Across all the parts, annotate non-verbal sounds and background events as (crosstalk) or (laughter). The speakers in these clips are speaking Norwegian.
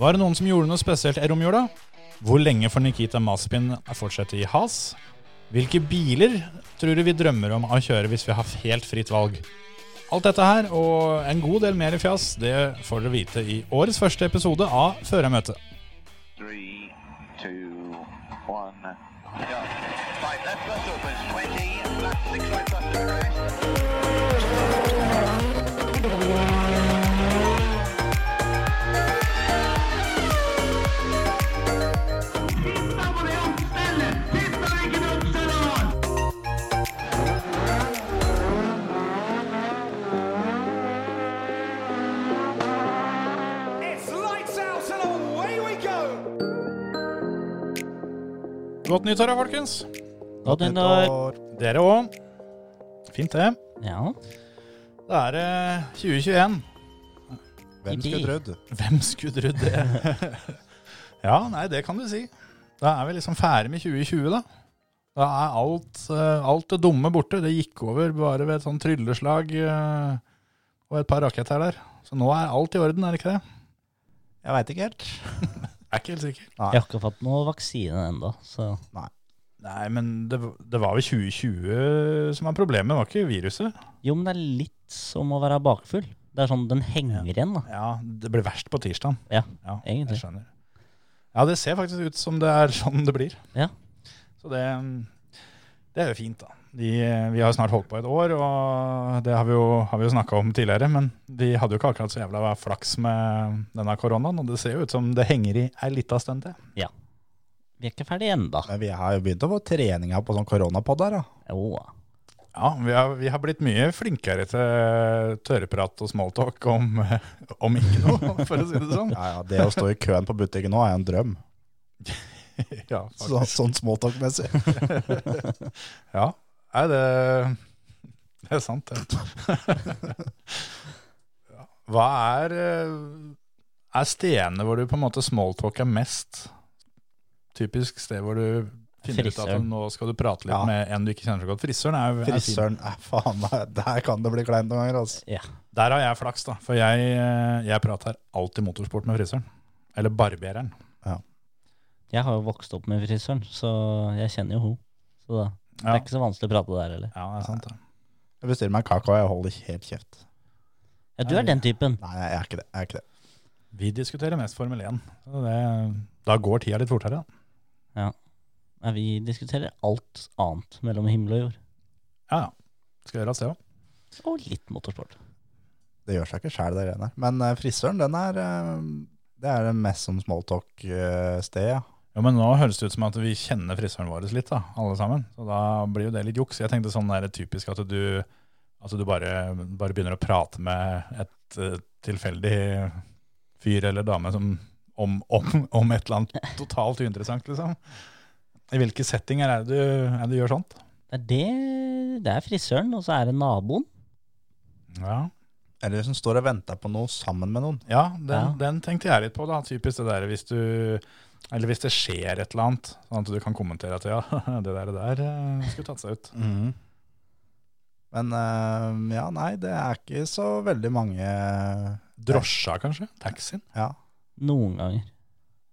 Var det noen som gjorde noe spesielt i romjula? Hvor lenge får Nikita Maspin fortsette i has? Hvilke biler tror du vi drømmer om å kjøre hvis vi har helt fritt valg? Alt dette her og en god del mer i fjas, det får dere vite i årets første episode av Førermøtet. Three, two, one, go. Right, left bus opens, 20, left six right bus to arrest. It's lights out and away we go! Godt nyttår da, folkens. Godt nyttår. Dere òg. Fint, det. Ja. Da er det 2021. Hvem skulle Yippee. trodd? Hvem skulle trodd det? (laughs) ja, nei, det kan du si. Da er vi liksom ferdig med 2020, da. Da er alt, eh, alt det dumme borte. Det gikk over bare ved et sånn trylleslag eh, og et par raketter der. Så nå er alt i orden, er det ikke det? Jeg veit ikke helt. Jeg (laughs) er ikke helt sikker. Jeg har ikke fått noe vaksine ennå, så Nei, men det, det var vel 2020 som var problemet, var ikke viruset? Jo, men det er litt som å være bakfull. Det er sånn den henger igjen, da. Ja, det ble verst på tirsdag. Ja, Ja, egentlig. Jeg skjønner. Ja, det ser faktisk ut som det er sånn det blir. Ja. Så det, mm, det er jo fint, da. De, vi har jo snart holdt på et år, og det har vi jo, har vi jo snakka om tidligere. Men vi hadde jo ikke akkurat så jævla flaks med denne koronaen, og det ser jo ut som det henger i ei lita stund til. Vi er ikke ferdig ennå. Men vi har jo begynt å få treninga på sånn koronapod her, da. Jo da. Ja, vi har, vi har blitt mye flinkere til tørrprat og smalltalk om, (laughs) om ikke noe, for å si det sånn. Ja, ja, det å stå i køen på butikken nå er en drøm. Ja, Så, sånn småtalk-messig. Ja, nei, det, (laughs) det er sant, det. (laughs) Ja. Hva er, eh, er stedene hvor du på en måte smalltalker mest? Typisk sted hvor du finner ut at Frisøren. nå skal du prate litt Ja. med en du ikke kjenner så godt. Frisøren er jo er fin. Frisøren, eh, faen, nei, der kan det bli kleint noen ganger, altså. Ja. Der har jeg flaks, da. For jeg, eh, jeg prater alltid motorsport med frisøren. Eller barbereren. Jeg har jo vokst opp med frisøren, så jeg kjenner jo hun. Så da, det Ja. er ikke så vanskelig å prate der heller. Ja, det er sant, det. Jeg bestiller meg en kake, og jeg holder helt kjeft. Ja, du er den typen. Nei, jeg er ikke det. Jeg er ikke det. Vi diskuterer mest Formel 1. Så det, da går tida litt fortere, da. Nei, vi diskuterer alt annet mellom himmel og jord. Ja, ja. Skal gjøre oss det òg. Og litt motorsport. Det gjør seg ikke sjæl, det greiene der. Men eh, frisøren, den er eh, Det er det mest som smalltalk-sted, ja. Jo, men nå høres det ut som at vi kjenner frisøren vår litt, da, alle sammen. Så da blir jo det litt juks. Jeg tenkte sånn der typisk at du, at du bare, bare begynner å prate med et eh, tilfeldig fyr eller dame som, om, om, om et eller annet totalt uinteressant, liksom. I hvilke settinger er det du, er det du gjør sånt? Det er, det, det er frisøren, og så er det naboen. Ja, Eller som står og venter på noe sammen med noen. ja, den, Ja. den tenkte jeg litt på, da. Typisk det der hvis du Eller hvis det skjer et eller annet, sånn at du kan kommentere at ja, (laughs) det der, det der eh, skulle tatt seg ut. Men eh, ja, nei, det er ikke så veldig mange Drosja, kanskje? Taxien? Ja. Noen ganger.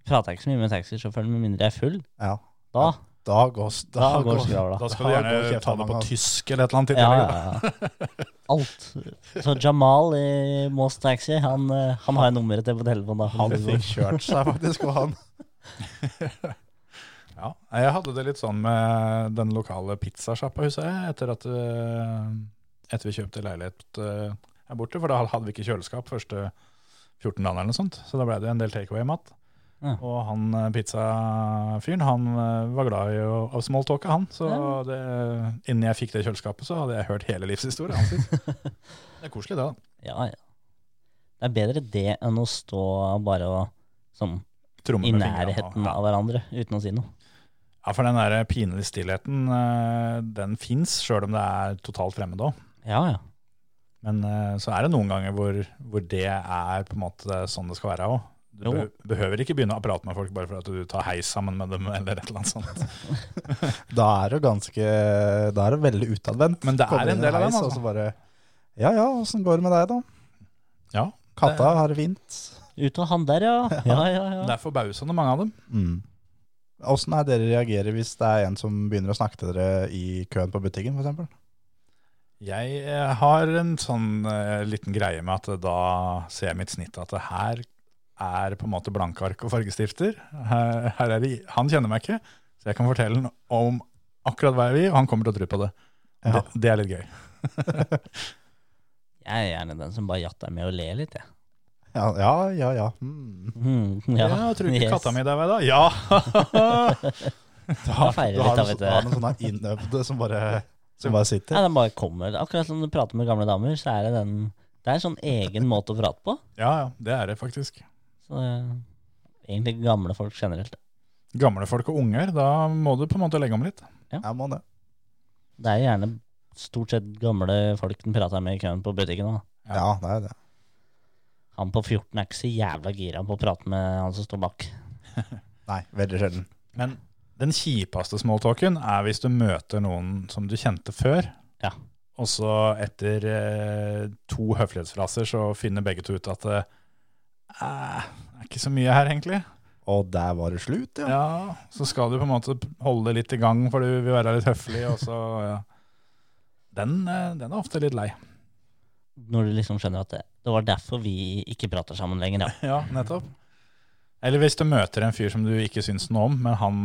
Prater jeg ikke så mye med taxisjåføren med mindre jeg er full. ja. Da, Da går, da da går går skravla. Da skal du Da går gjerne kjeften ta det på mange, altså. tysk eller et eller annet. i Ja, tillegg, da. ja, ja. (laughs) Alt. Så Jamal i Moss Taxi, han, eh, han har jeg nummeret til på telefonen. Da. Han sånn. fikk kjørt seg faktisk, og han Ja. Jeg hadde det litt sånn med den lokale pizzasjappa, husker jeg, etter at eh, etter vi kjøpte leilighet eh, her borte. For da hadde vi ikke kjøleskap første 14 dagene eller noe sånt. Så da ble det en del takeaway-mat. Ja. Og han eh, pizzafyren, han eh, var glad i å, å smalltalke, han. Så Ja. det, innen jeg fikk det kjøleskapet, så hadde jeg hørt hele livshistorien (laughs) hans. Det er koselig, det, da. Ja, ja. Det er bedre det enn å stå bare og, som, Tromme i med fingrene og- nærheten av hverandre uten å si noe. Ja, for den der pinlige stillheten, eh, den fins, sjøl om det er totalt fremmed òg. Ja, ja. Men eh, så er det noen ganger hvor, hvor det er på en måte sånn det skal være òg. Du Jo. behø- behøver ikke begynne å prate med folk bare for at du tar heis sammen med dem. (laughs) eller et eller annet sånt. Da er du ganske Da er du veldig utadvendt. Men det er Kommer en inn i del av heis, dem, og altså. så bare Ja ja, åssen går det med deg, da? Ja, Katta har det fint. Ut av han (laughs) der, ja. Ja, ja, Det ja. er forbausende mange av dem. Mm. Åssen er dere reagerer hvis det er en som begynner å snakke til dere i køen på butikken, f.eks.? Jeg eh, har en sånn eh, liten greie med at da ser jeg mitt snitt at det her er på en måte blanke ark og fargestifter. Her, her er det, han kjenner meg ikke, så jeg kan fortelle han om akkurat hva jeg vil, og han kommer til å tro på det. Ja. det. Det er litt gøy. Jeg er gjerne den som bare jatter med og ler litt, jeg. Ja, ja, ja. ja. Mm. Mm, Ja, tror du ikke yes. katta mi der var da? Ja! Du Da feirer vi litt, eh, da, vet du. noen, du har noen sånne innøvde som bare, som bare sitter. Nei, den bare kommer. Akkurat som du prater med gamle damer, så er det den Det er en sånn egen måte å prate på. ja, ja, det er det faktisk. Så eh, egentlig gamle folk generelt. Gamle folk og unger, da må du på en måte legge om litt. Jeg må det. Det er jo gjerne stort sett gamle folk den prater med i køen på butikken. Da. Ja. Ja, det er det. Han på 14 er ikke så jævla gira på å prate med han som står bak. Nei, veldig sjelden. Men den kjipeste smalltalken er hvis du møter noen som du kjente før. Ja. Og så etter eh, to høflighetsfraser så finner begge to ut at det eh, er ikke så mye her, egentlig. Og der var det slutt, ja. Ja, Så skal du på en måte holde litt i gang, for du vil være litt høflig. og så... Ja. Den, eh, den er ofte litt lei. Når du liksom skjønner at det, det var derfor vi ikke prater sammen lenger, ja. Ja, nettopp. Eller hvis du møter en fyr som du ikke syns noe om, men han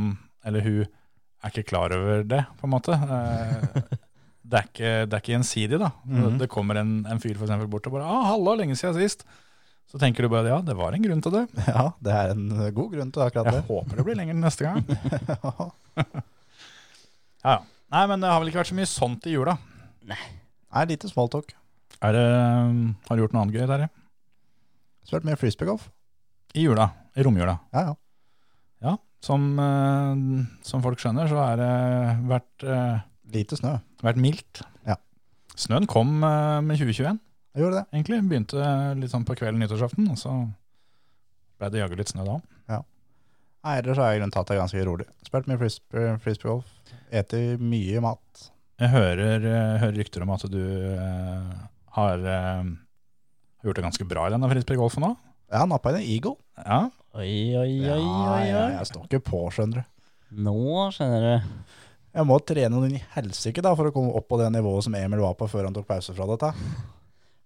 eller hun er ikke klar over det, på en måte. Eh, Det er ikke, det er ikke gjensidig, da. Mhm. Det kommer en, en fyr for eksempel bort og bare 'Å, hallo, lenge siden sist'. Så tenker du bare 'ja, det var en grunn til det'. (laughs) Ja, det er en eh, god grunn til akkurat Jeg det. håper det blir lenger neste gang. (laughs) Ja. Ja, ja. Nei, men det har vel ikke vært så mye sånt i jula. Nei, lite smalltalk. Er det, eh, har du gjort noe annet gøy, Terje? Spilt mye frisbeegolf. I jula. I romjula. Ja, ja. Ja. Som, eh, som folk skjønner, så har det vært eh, Lite snø. vært mildt. Ja. Snøen kom eh, med 2021, Jeg gjorde det. egentlig. Begynte litt sånn på kvelden nyttårsaften, og så ble det jaggu litt snø da. Nei, ellers har jeg i grunnen tatt det ganske rolig. Spilt mye frisbe- frisbeegolf. Eter mye mat. Jeg hører, eh, hører rykter om at du eh, har eh, gjort det ganske bra i denne frisbeegolfen nå. Jeg har nappa inn en eagle. Ja. Oi, oi, oi, Ja, oi, ja, oi. jeg står ikke på, skjønner du. Nå skjønner du. Jeg må trene noen i helsike da, for å komme opp på det nivået som Emil var på før han tok pause fra dette.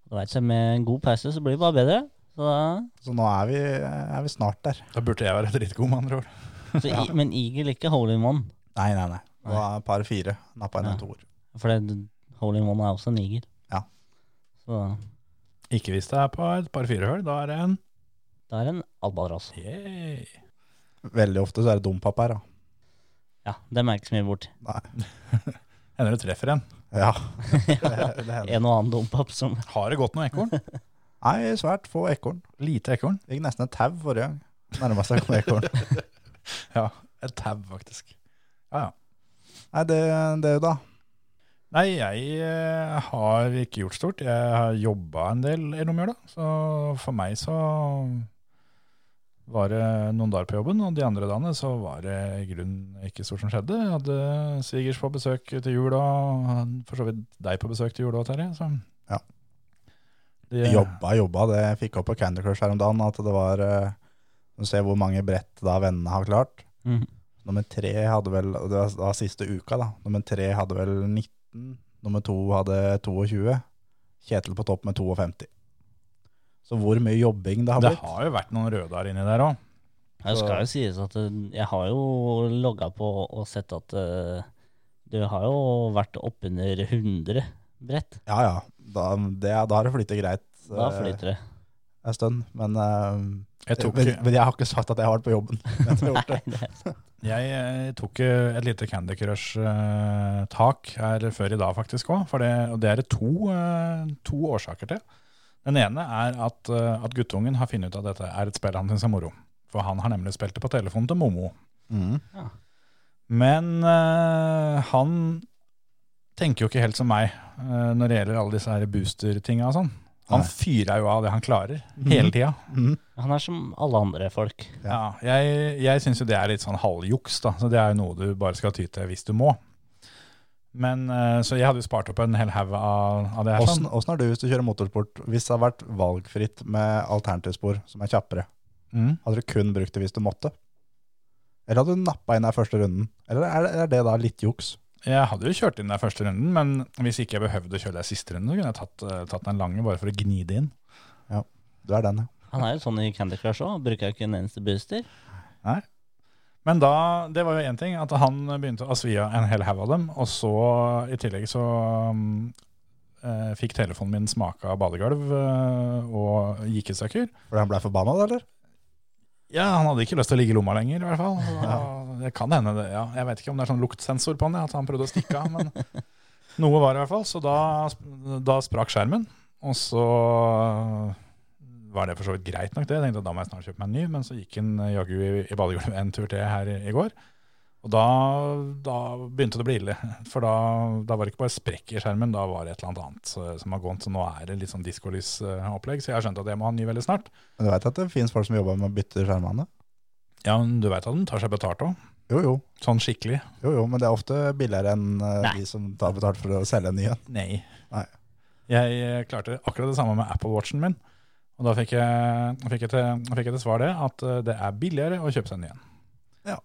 Du vet, så med en god pause så blir det bare bedre. Så da, Så nå er vi, eh, er vi snart der. Da burde jeg være dritgod, med andre ord. så, (laughs) i- Men Eagle ikke hole in one. Nei, nei, nei. Nå er par fire. Nappa inn en toer. For det, hole in one er også en eagle. Ja. Så Ikke hvis det er på et par firehull, da er det en det er en albatross. Yay. Veldig ofte så er det dompap her, da. Ja, det merker ikke så mye bort. Hender du treffer en. Ja, det, det hender. (laughs) En og annen dompap som Har det gått noe ekorn? Nei, svært få ekorn. Lite ekorn. Fikk nesten et tau forrige gang. Nærma seg (laughs) ikke noe ekorn. Et tau, faktisk. Ja, ja. Nei, det, det da. Nei, jeg eh, har ikke gjort stort. Jeg har jobba en del i romjula. Så for meg så var det noen dager på jobben, og de andre dagene så var det i grunnen ikke stort som skjedde. Jeg hadde svigers på besøk til jul, og for så vidt deg på besøk til jul òg, Terje. Så. Ja. De, Jobba, jobba. Det jeg fikk opp på Candy Crush her om dagen at det var eh, Du ser hvor mange brett da vennene har klart. Mhm. Nummer tre hadde vel og Det var, det var siste uka, da. Nummer tre hadde vel 19. Nummer to hadde 22. Kjetil på topp med 52. Så hvor mye jobbing det har Det blitt. har jo vært noen røde der inni der òg. Det skal jo sies at eh, jeg har jo logga på og sett at eh, du har jo vært oppunder 100 brett. Ja ja. Da, det, da har det flyttet greit Da eh, flyter det. (laughs) en stund. Men, eh, Jeg tok, men, men jeg har ikke sagt at jeg har vært på jobben. (laughs) Men jeg har gjort det. Nei, det er Jeg eh, tok eh, et lite Candy Crush-tak her før i dag faktisk òg. Og det er det to, eh, to årsaker til. Den ene er at, eh, at guttungen har funnet ut at dette er et spill han syns er moro. For han har nemlig spilt det på telefonen til Momo. Mhm. Men eh, han tenker jo ikke helt som meg eh, når det gjelder alle disse her booster-tinga og sånn. Han Nei. fyrer jo av det han klarer, hele tida. Mhm. Han er som alle andre folk. Ja, jeg, jeg syns jo det er litt sånn halvjuks, da. Så det er jo noe du bare skal ty til hvis du må. Men, eh, så jeg hadde jo spart opp en hel haug av, av det her. sånn. Åssen åssen er du hvis du kjører motorsport? Hvis det har vært valgfritt med alternativspor som er kjappere, Sånn. Mm. hadde du kun brukt det hvis du måtte? Eller hadde du nappa inn der første runden? Eller er det, er det da litt juks? Jeg hadde jo kjørt inn der første runden, men hvis ikke jeg behøvde å kjøre der siste runden, så kunne jeg tatt, eh, tatt den lange bare for å gni det inn. Du er den, ja. Han er jo sånn i Candy Crush òg, bruker jo ikke en eneste booster. Men da, det var jo én ting, at han begynte å svi av en hel haug av dem. Og så, i tillegg så mm, eh, fikk telefonen min smake av badegulv eh, og gikkestykker. Fordi han blei forbanna, da, eller? Ja, han hadde ikke lyst til å ligge i lomma lenger, i hvert fall. Så da- Det kan hende det, ja. Jeg vet ikke om det er sånn luktsensor på han, ja, at han prøvde å stikke av, men noe var det i hvert fall. Så da, sp- da sprakk skjermen, og så var det for så vidt greit nok det. Jeg tenkte at da må jeg snart kjøpe meg en ny, men så gikk han eh, jaggu i, i badegulvet en tur til her i, i går. Og da, da begynte det å bli ille, for da, da var det ikke bare sprekk i skjermen, da var det et eller annet annet eh, som har gått, så nå er det litt sånn diskolysopplegg, så jeg har skjønt at jeg må ha en ny veldig snart. Men du veit at det fins folk som jobber med å bytte skjermene? Ja, men du vet at de tar seg betalt òg. Jo, jo. Sånn skikkelig. Jo, jo, men det er ofte billigere enn eh, Nei. de som tar betalt for å selge en ny en. Nei. Nei. Jeg eh, klarte akkurat det samme med Apple Watchen min. Og da fikk jeg, da fikk jeg, til, da fikk jeg til svar det, at eh, det er billigere å kjøpe seg en ny en. Ja.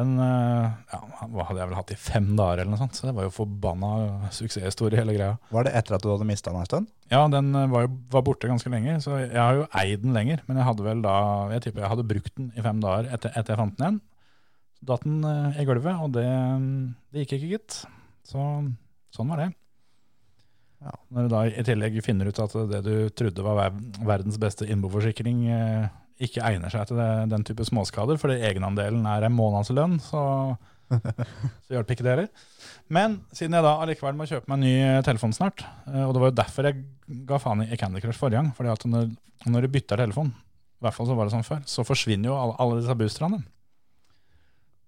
Den eh, ja, hva hadde jeg vel hatt i fem dager eller noe sånt, så det var jo forbanna suksesshistorie hele greia. Var det etter at du hadde mista den en stund? Ja, den eh, var, jo, var borte ganske lenge, så jeg har jo eid den lenger. Men jeg hadde vel da, jeg tipper jeg hadde brukt den i fem dager etter, etter jeg fant den igjen. Så datt den eh, i gulvet, og det, det gikk ikke, gitt. Så sånn var det. Ja. Når du da i tillegg finner ut at det du trodde var ver- verdens beste innboforsikring, eh, ikke egner seg til det, den type småskader, fordi egenandelen er en månedslønn, så, så hjelper ikke det heller. Men siden jeg da allikevel må kjøpe meg en ny telefon snart, eh, og det var jo derfor jeg ga faen i i Candy Crush forrige gang, fordi at når, når du bytter telefon, i hvert fall så var det sånn før, så forsvinner jo alle, alle disse boosterne.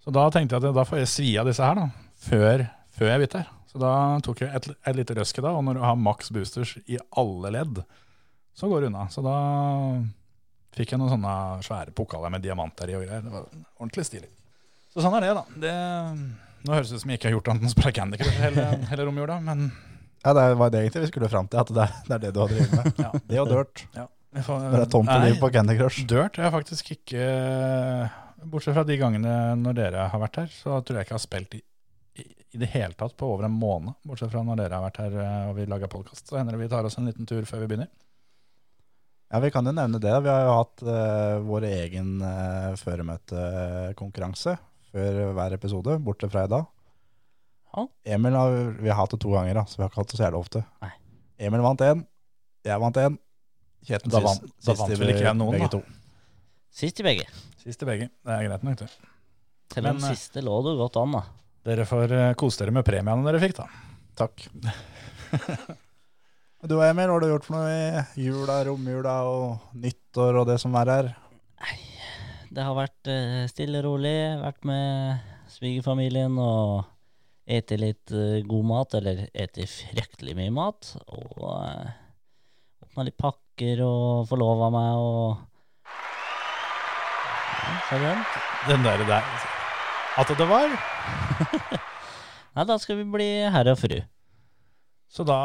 Så da tenkte jeg at da får jeg svi av disse her da, før, før jeg bytter. Så da tok jeg et, et lite røske da, og når du har maks boosters i alle ledd, så går det unna. Så da fikk jeg noen sånne svære pokaler med diamanter i og greier. Det var ordentlig stilig. Så sånn er det da. Det, nå høres det ut som jeg ikke har gjort annet enn å spille Candy Crush hele, hele romjorda, men Ja, det var det egentlig vi skulle fram til, at det er det, er det du (laughs) har drevet med. Ja. Det og dirt. jeg får- Når det er tomt for Nei, liv på Candy Crush. Dirt har jeg faktisk ikke Bortsett fra de gangene når dere har vært her, så tror jeg ikke jeg har spilt i, i, i det hele tatt på over en måned. Bortsett fra når dere har vært her eh, og vi lager podkast. Så hender det vi tar oss en liten tur før vi begynner. Ja, vi kan jo nevne det. Vi har jo hatt eh, vår egen eh, føremøtekonkurranse før hver episode, bortsett fra i dag. Ja. Emil har, vi har hatt det to ganger, da, så vi har ikke hatt det så jævlig ofte. Nei. Emil vant én, jeg vant én. Kjetil Da sist- vant- da sist vant i vel ikke jeg noen, begge da. to. Sist i begge. Siste begge. Det er greit nok, det. Selv om Men, eh, siste lå du godt an, da. Dere får eh, kose dere med premiene dere fikk, da. Takk. Du og Emil, hva har du gjort for noe i jula, romjula og nyttår og det som er her? Det har vært eh, stille og rolig. Vært med svigerfamilien og ete litt eh, god mat, eller ete fryktelig mye mat. Og uh, åpna litt pakker og forlova meg og ja, Sa du den? Den der, der. At det var. Nei, da skal vi bli herre og fru. Så da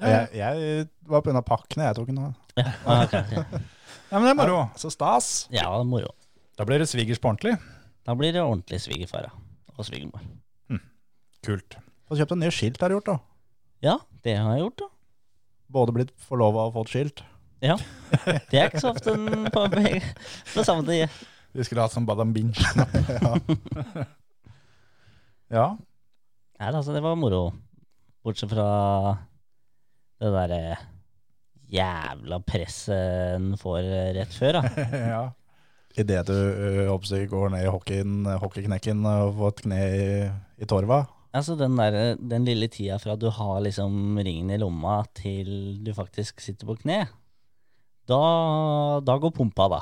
ja. Jeg, jeg var på grunn av pakkene jeg tok den av. Ja, ok, ok. ja, men det er moro. Så stas! ja det er moro. Da blir det svigers på ordentlig. Da blir det ordentlig svigerfar ja. og svigermor. Kult. Fått kjøpt en ny skilt har du gjort da. Ja, det har jeg gjort, da. Både blitt forlova og fått skilt. Ja. Det er ikke så ofte en på, (laughs) på samme tid. Vi skulle hatt sånn badambinch. (laughs) (laughs) ja. Nei, altså, det var moro. Bortsett fra det derre jævla presset en får eh, rett før, da. ja. Idet du ø, håper jeg, går ned i hockeyen, eh, hockeyknekken og får et kne i, i torva. Altså den, der, den lille tida fra du har liksom ringen i lomma til du faktisk sitter på kne, da, da går pumpa, da.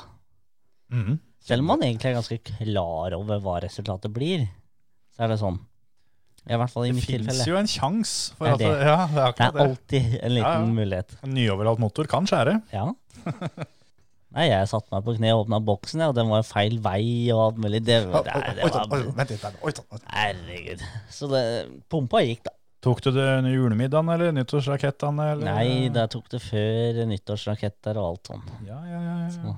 Mhm. Selv om man egentlig er ganske klar over hva resultatet blir, så er det sånn. I hvert fall i Det mitt fins tilfelle. jo en sjanse for at Det er det, det. ja, det er Det akkurat er det. alltid en liten Ja, ja. mulighet. (laughs) En nyoverholdt motor kan skjære. Ja. Nei, jeg satte meg på kne og åpna boksen, ja, og den var jo feil vei og alt mulig. Det, Oi, det, oi, det oi, sånn, var, oi, Vent litt der. Oi, sånn, oi, sånn. herregud. Så det, pumpa gikk, da. Tok du det under julemiddagen eller nyttårsrakettene? Eller? Nei, da tok det før nyttårsraketter og alt sånn. Ja, ja, ja, ja.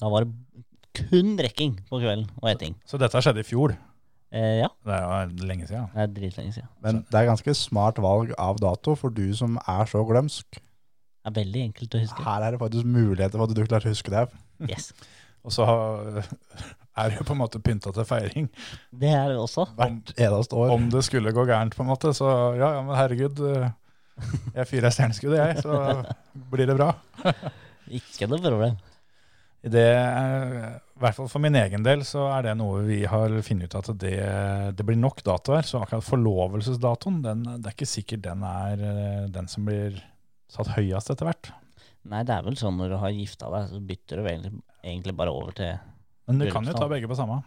Da var det kun brekking på kvelden og eting. Så dette skjedde i fjor. Eh, ja, Det er jo lenge siden. det er dritlenge siden. Men det er ganske smart valg av dato for du som er så glømsk. Det er veldig enkelt å huske. Her er det faktisk muligheter for at du klarer å huske det. Yes. Og så har- (laughs) er det jo på en måte pynta til feiring. Det er det også. Hvert eneste år. Om det skulle gå gærent, på en måte, så ja, ja, men herregud. eh, Jeg fyrer stjerneskudd, jeg, så blir det bra. Ikke noe problem. Det er, I hvert fall for min egen del så er det noe vi har funnet ut at det, det blir nok datoer. Så akkurat forlovelsesdatoen, den, det er ikke sikkert den er eh, den som blir satt høyest etter hvert. Nei, det er vel sånn når du har gifta deg, så bytter du vel egentlig- egentlig bare over til Men du kan jo ta begge på samme.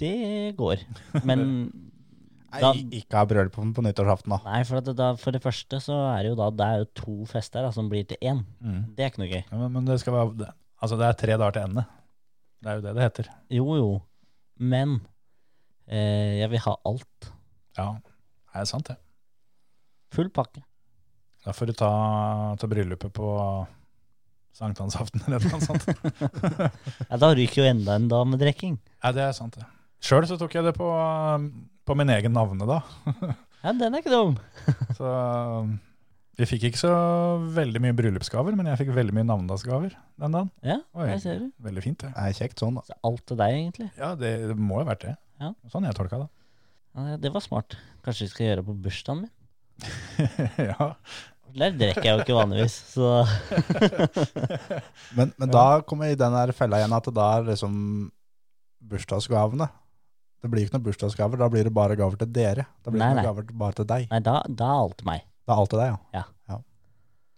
Det går. (laughs) Men Nei, ikke ha bryllup på, på nyttårsaften, da. Nei, for, at det da, for det første så er det jo da det er jo to fester da, som blir til én. Mm. Det er ikke noe gøy. Ja, men, men det skal være det. Altså det er tre dager til ende. Det er jo det det heter. Jo, jo. Men eh, jeg vil ha alt. Ja, det er sant det. Full pakke. Da får du ta, ta bryllupet på sankthansaften eller noe (laughs) sånt. Ja, da ryker jo enda en damedrekking. Ja, det er sant det. Sjøl så tok jeg det på, på min egen navne da. Ja, den er ikke dum. Så um, vi fikk ikke så veldig mye bryllupsgaver, men jeg fikk veldig mye navnedagsgaver den dagen. Ja, Oi. der ser du. Veldig fint, det. Det er kjekt sånn, da. Så alt til deg, egentlig. Ja, det, det må jo ha vært det. Ja. Sånn jeg tolka det. Ja, det var smart. Kanskje vi skal gjøre det på bursdagen min. (laughs) ja. Der drikker jeg jo ikke vanligvis, så Men, men da kommer jeg i den der fella igjen at det da er liksom bursdagsgavene. Det blir ikke noen bursdagsgaver, da blir det bare gaver til dere. Da blir det Nei, ikke nei. noen gaver til- bare til deg. (laughs) Nei, da, da er alt meg. Det er alt til deg, ja.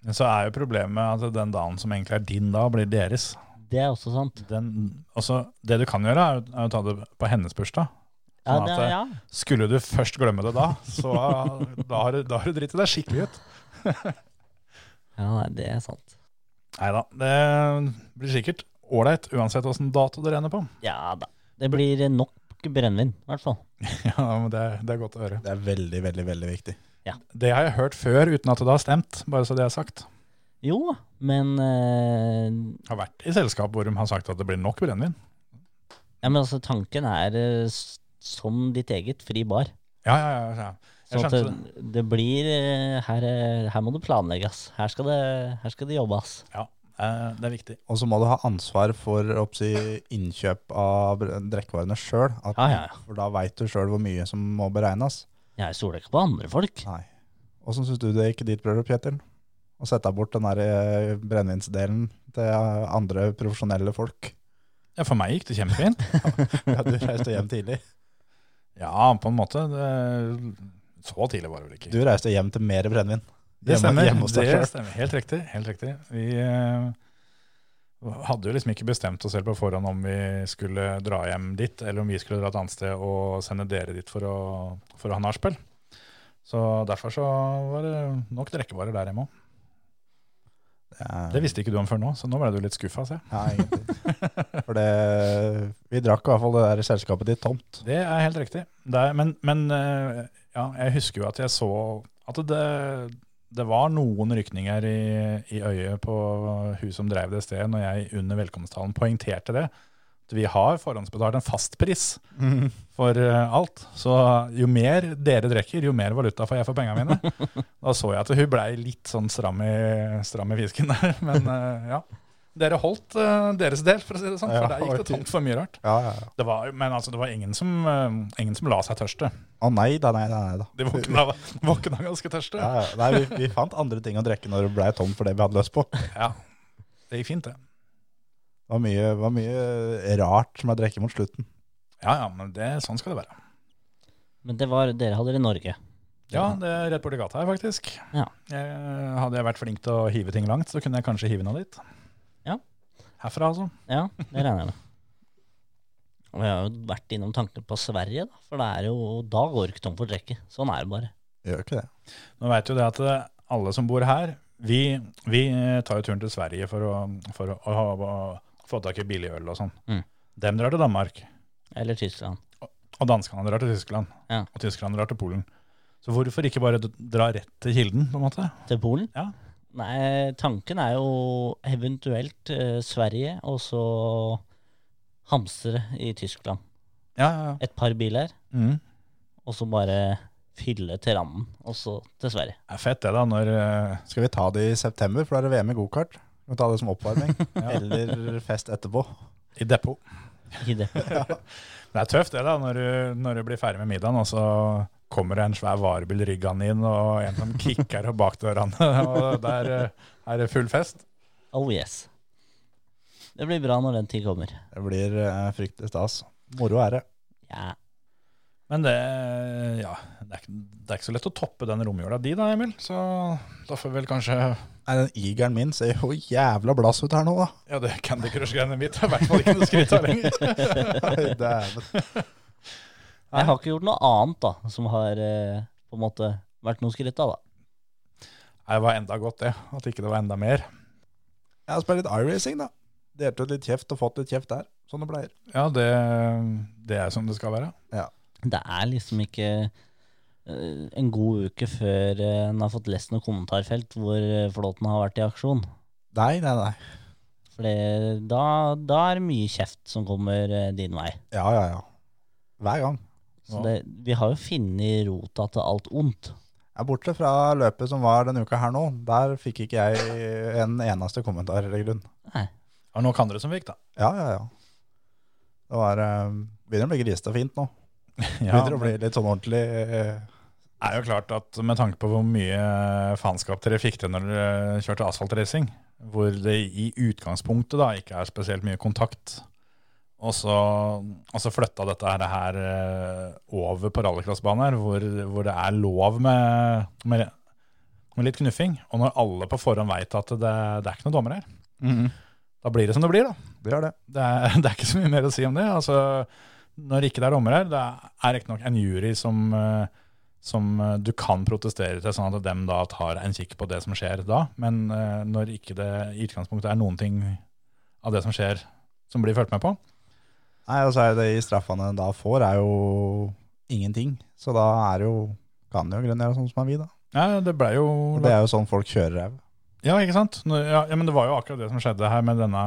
Men så er jo problemet at den dagen som egentlig er din da, blir deres. Det er også sant. Den, også, det du kan gjøre, er jo- er å ta det på hennes bursdag. Ja, Sånn det, at det- ja. Skulle du først glemme det da, så da har du, da har du driti deg skikkelig ut. ja nei, det er sant. Nei da, det blir sikkert ålreit uansett åssen dato dere ender på. Ja da. Det blir nok brennevin, i hvert fall. (laughs) Ja, men det, det er godt å høre. Det er veldig, veldig, veldig viktig. Det har jeg hørt før uten at det har stemt, bare så det er sagt. Jo, men eh, har vært i selskap hvor de har sagt at det blir nok brennevin. Ja, men altså, tanken er eh, s- som ditt eget fri bar. Ja, ja, ja, ja. Jeg Så at skjønte det, det blir eh, her, eh, her må det planlegges. Her skal det, her skal det jobbes. Eh, Det er viktig. Og så må du ha ansvar for oppsi, innkjøp av br- drikkevarene sjøl. Ja, ja, ja. For da veit du sjøl hvor mye som må beregnes. Jeg stoler ikke på andre folk. Nei. Åssen syns du det gikk i ditt bryllup, Kjetil? Å sette bort den der eh, brennevinsdelen til eh, andre profesjonelle folk. Ja, for meg gikk det kjempefint. (laughs) Ja, du reiste hjem tidlig. Ja, på en måte. Det, så tidlig var det vel ikke. (laughs) Du reiste hjem til mer brennevin. det stemmer. Hjemme hos deg det selv. stemmer. Helt riktig. Helt riktig. Vi eh, hadde jo liksom ikke bestemt oss selv på forhånd om vi skulle dra hjem dit, eller om vi skulle dra et annet sted og sende dere dit for å, for å ha nachspiel. Så derfor så var det nok drikkevarer der hjemme òg. Ja. Det visste ikke du om før nå, så nå ble du litt skuffa, ser jeg. Ja, egentlig. For det, vi drakk i hvert fall det der selskapet ditt tomt. Det er helt riktig. Det er, men men eh, ja, jeg husker jo at jeg så at det, det var noen rykninger i, i øyet på hun som drev det stedet, når jeg under velkomsttalen poengterte det. At vi har forhåndsbetalt en fastpris for eh, alt. Så jo mer dere drikker, jo mer valuta får jeg for pengene mine. (laughs) Da så jeg at hun blei litt sånn stram i, stram i fisken der. Men eh, ja. Dere holdt eh, deres del, for å si det sånn. Ja, For der gikk det ok. tomt for mye rart. Ja, ja, ja. Det var, men altså, det var ingen som, eh, ingen som la seg tørste. Å nei da, nei da. Nei, da. De våkna, våkna ganske tørste. Ja, ja. Nei, vi, vi fant andre ting å drikke når det ble tomt for det vi hadde lyst på. Ja. Det gikk fint, det. Det var mye, var mye rart som jeg drekket mot slutten. Ja, ja, men det, sånn skal det være. Men det var, dere hadde det i Norge. Ja, det er rett borti gata her, faktisk. Ja. Jeg, hadde jeg vært flink til å hive ting langt, så kunne jeg kanskje hive noe dit. Ja. Herfra, altså. Ja, det regner jeg med. Og jeg har jo vært innom tanken på Sverige, da, for det er jo, da går du ikke tom for trekket. Sånn er det bare. Gjør ikke det. Nå veit jo det at eh, alle som bor her, vi, vi eh, tar jo turen til Sverige for å, for å, å, ha- å få tak i billig øl og sånn. Mm. Dem drar til Danmark, Eller Tyskland. og danskene drar til Tyskland, Ja. og tyskerne drar til Polen. Så hvorfor ikke bare d- dra rett til kilden, på en måte? Til Polen? Ja. Nei, tanken er jo eventuelt eh, Sverige, og så hamstre i Tyskland. Ja, ja, ja. Et par biler, Mm. og så bare fylle til rammen, og så til Sverige. Det er fett det, da, når eh, Skal vi ta det i september, for da er det VM i gokart? Vi kan ta det som oppvarming, eller fest etterpå. I depot. I det. Det er tøft det, da, når du, når du blir ferdig med middagen, og så kommer det en svær varebil ryggende inn, og en som kicker og bakdørene, (laughs) og der eh, er det full fest. Oh yes. Det blir bra når den tid kommer. Det blir eh, fryktelig stas. Moro er det. Ja. Men det, ja, det, er ikke, det er ikke så lett å toppe den romjula di da, Emil. Så da får vi vel kanskje Nei, den igeren min ser jo jævla blass ut her nå, da. Ja, det Candy Crush-greiene mitt er i hvert fall ikke noe skritt (laughs) (laughs) av lenger. Nei, dæven. Jeg har ikke gjort noe annet da, som har eh, på en måte vært noe skritt av da. Nei, Det var enda godt, det. At ikke det var enda mer. Jeg har spilt litt iRacing, da. Delt ut litt kjeft og fått litt kjeft der, som det pleier. Ja, det, det er som det skal være. Det er liksom ikke eh, en god uke før eh, en har fått lest noe kommentarfelt hvor eh, flåten har vært i aksjon. Nei, nei, nei. For det- da, da er det mye kjeft som kommer eh, din vei. Ja, ja, ja. Hver gang. Så det, vi har jo funnet rota til alt ondt. Ja, bortsett fra løpet som var denne uka her nå, der fikk ikke jeg en eneste kommentar eller grunn. Nei. Det var nok andre som fikk, da. Ja, ja, ja. Det var, eh, begynner å bli grista fint nå. Ja, Begynner å men bli litt sånn ordentlig eh, det er jo klart at Med tanke på hvor mye faenskap dere fikk til når dere kjørte asfaltracing, hvor det i utgangspunktet da ikke er spesielt mye kontakt, og så, og så flytta dette her, her eh, over på rallycrossbaner, hvor, hvor det er lov med, med, med litt knuffing, og når alle på forhånd veit at det, det er ikke noen dommer her, da blir det som det blir, da. Mhm. Det gjør det. Det er, (laughs) det er ikke så mye mer å si om det. Altså, når ikke det er dommer her, det er riktignok en jury som, eh, som eh, du kan protestere til, sånn at dem da tar en kikk på det som skjer da. Men eh, når ikke det i utgangspunktet er noen ting av det som skjer, som blir fulgt med på, Nei, og så er det i straffene en da får, er jo ingenting. Så da er det jo kan det jo grunnen gjøre sånn som er vi, da. ja, det ble jo Og det er jo sånn folk kjører ræv. Ja, ikke sant? Nå- Ja, ja, men det var jo akkurat det som skjedde her med denne,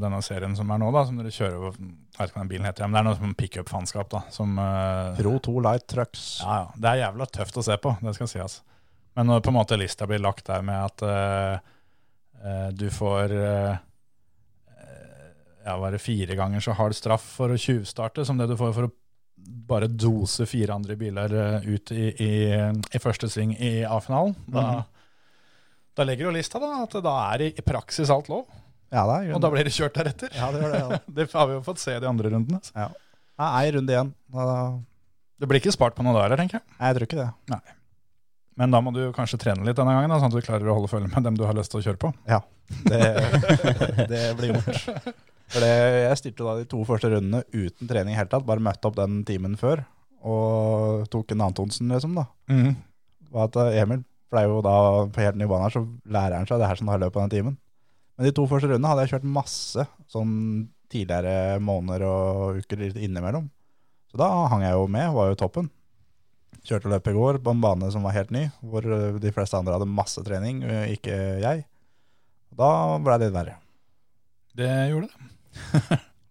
denne serien som er nå, da, som dere kjører over, jeg vet ikke hva den bilen heter, ja, men det er noe som pick-up-fanskap da, som... eh, Pro 2 Light Trucks. Ja, ja. Det er jævla tøft å se på, det skal sies. Men når på en måte lista blir lagt der med at eh, eh, du får eh, eh, ja, bare fire ganger så hard straff for å tjuvstarte som det du får for å bare dose fire andre biler eh, ut i, i, i første sving i A-finalen. Da, Mhm. da legger jo lista da, at da er i, i praksis alt lov, Ja, det er grunnen. og da blir det kjørt deretter. Ja, det gjør det. Ja. Det har vi jo fått se i de andre rundene. så. Nei, ei runde igjen. Da- Det blir ikke spart på noe der, tenker jeg. Nei, jeg tror ikke det. Men da må du kanskje trene litt denne gangen, da, sånn at du klarer å holde følge med dem du har lyst til å kjøre på. Det, (laughs) det blir gjort. For det, jeg stilte da de to første rundene uten trening i hele tatt, bare møtte opp den timen før og tok en Antonsen, liksom, da. Mm. Var at eh, Emil pleier jo da på helt ny bane her, så lærer han seg det her som har løpet av den timen. Men de to første rundene hadde jeg kjørt masse sånn tidligere måneder og uker litt innimellom. Så da hang jeg jo med, var jo toppen. Kjørte løpet i går på en bane som var helt ny, hvor eh, de fleste andre hadde masse trening, eh, ikke jeg. Da ble det litt verre. Det gjorde det.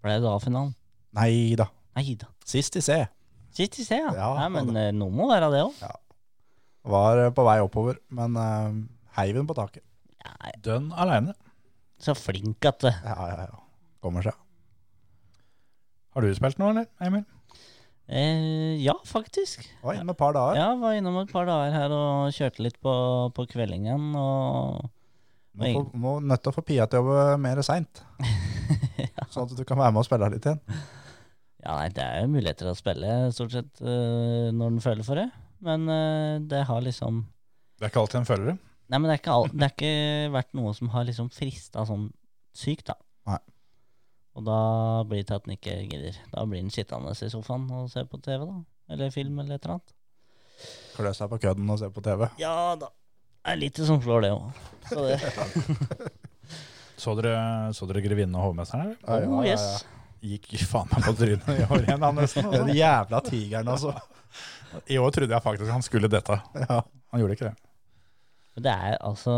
Ble det A-finalen? Nei da. Nei da. Sist i C. Sitt i sted, ja. Ja, Nei, men da. eh, noe må være det òg. Var eh, på vei oppover, men uh, heiv den på taket. Dønn aleine. Så flink at det. Ja, ja, ja. Kommer seg. Har du spilt noe, eller, Emil? Eh, ja, faktisk. Var inne med et par dager. Ja, var innom et par dager her og kjørte litt på, på kveldingen. Og Må, få- må nødt til å få Pia til å jobbe mer (laughs) seint. Sånn at du kan være med og spille litt igjen. ja, nei, det er jo muligheter å spille stort sett eh, når den føler for det. Men eh, det har liksom Det er ikke alltid en følger. Nei, men det er ikke, all, det er ikke vært noe som har liksom frista sånn sykt, da. Nei. Og da blir det til at den ikke gidder. Da blir den sittende i sofaen og se på TV, da. Eller film, eller et eller annet. Klø seg på kødden og se på TV. Ja da. Det er lite som slår det òg. Så det Så dere, så dere Grevinnen og hovmesteren? eller? (laughs) Ja, ja, Oh, ja, yes. Gikk faen meg på trynet i år igjen, (laughs) han nesten. Den altså. jævla tigeren, altså. I år trodde jeg faktisk han skulle dette. Ja. Han gjorde ikke det. Men det er altså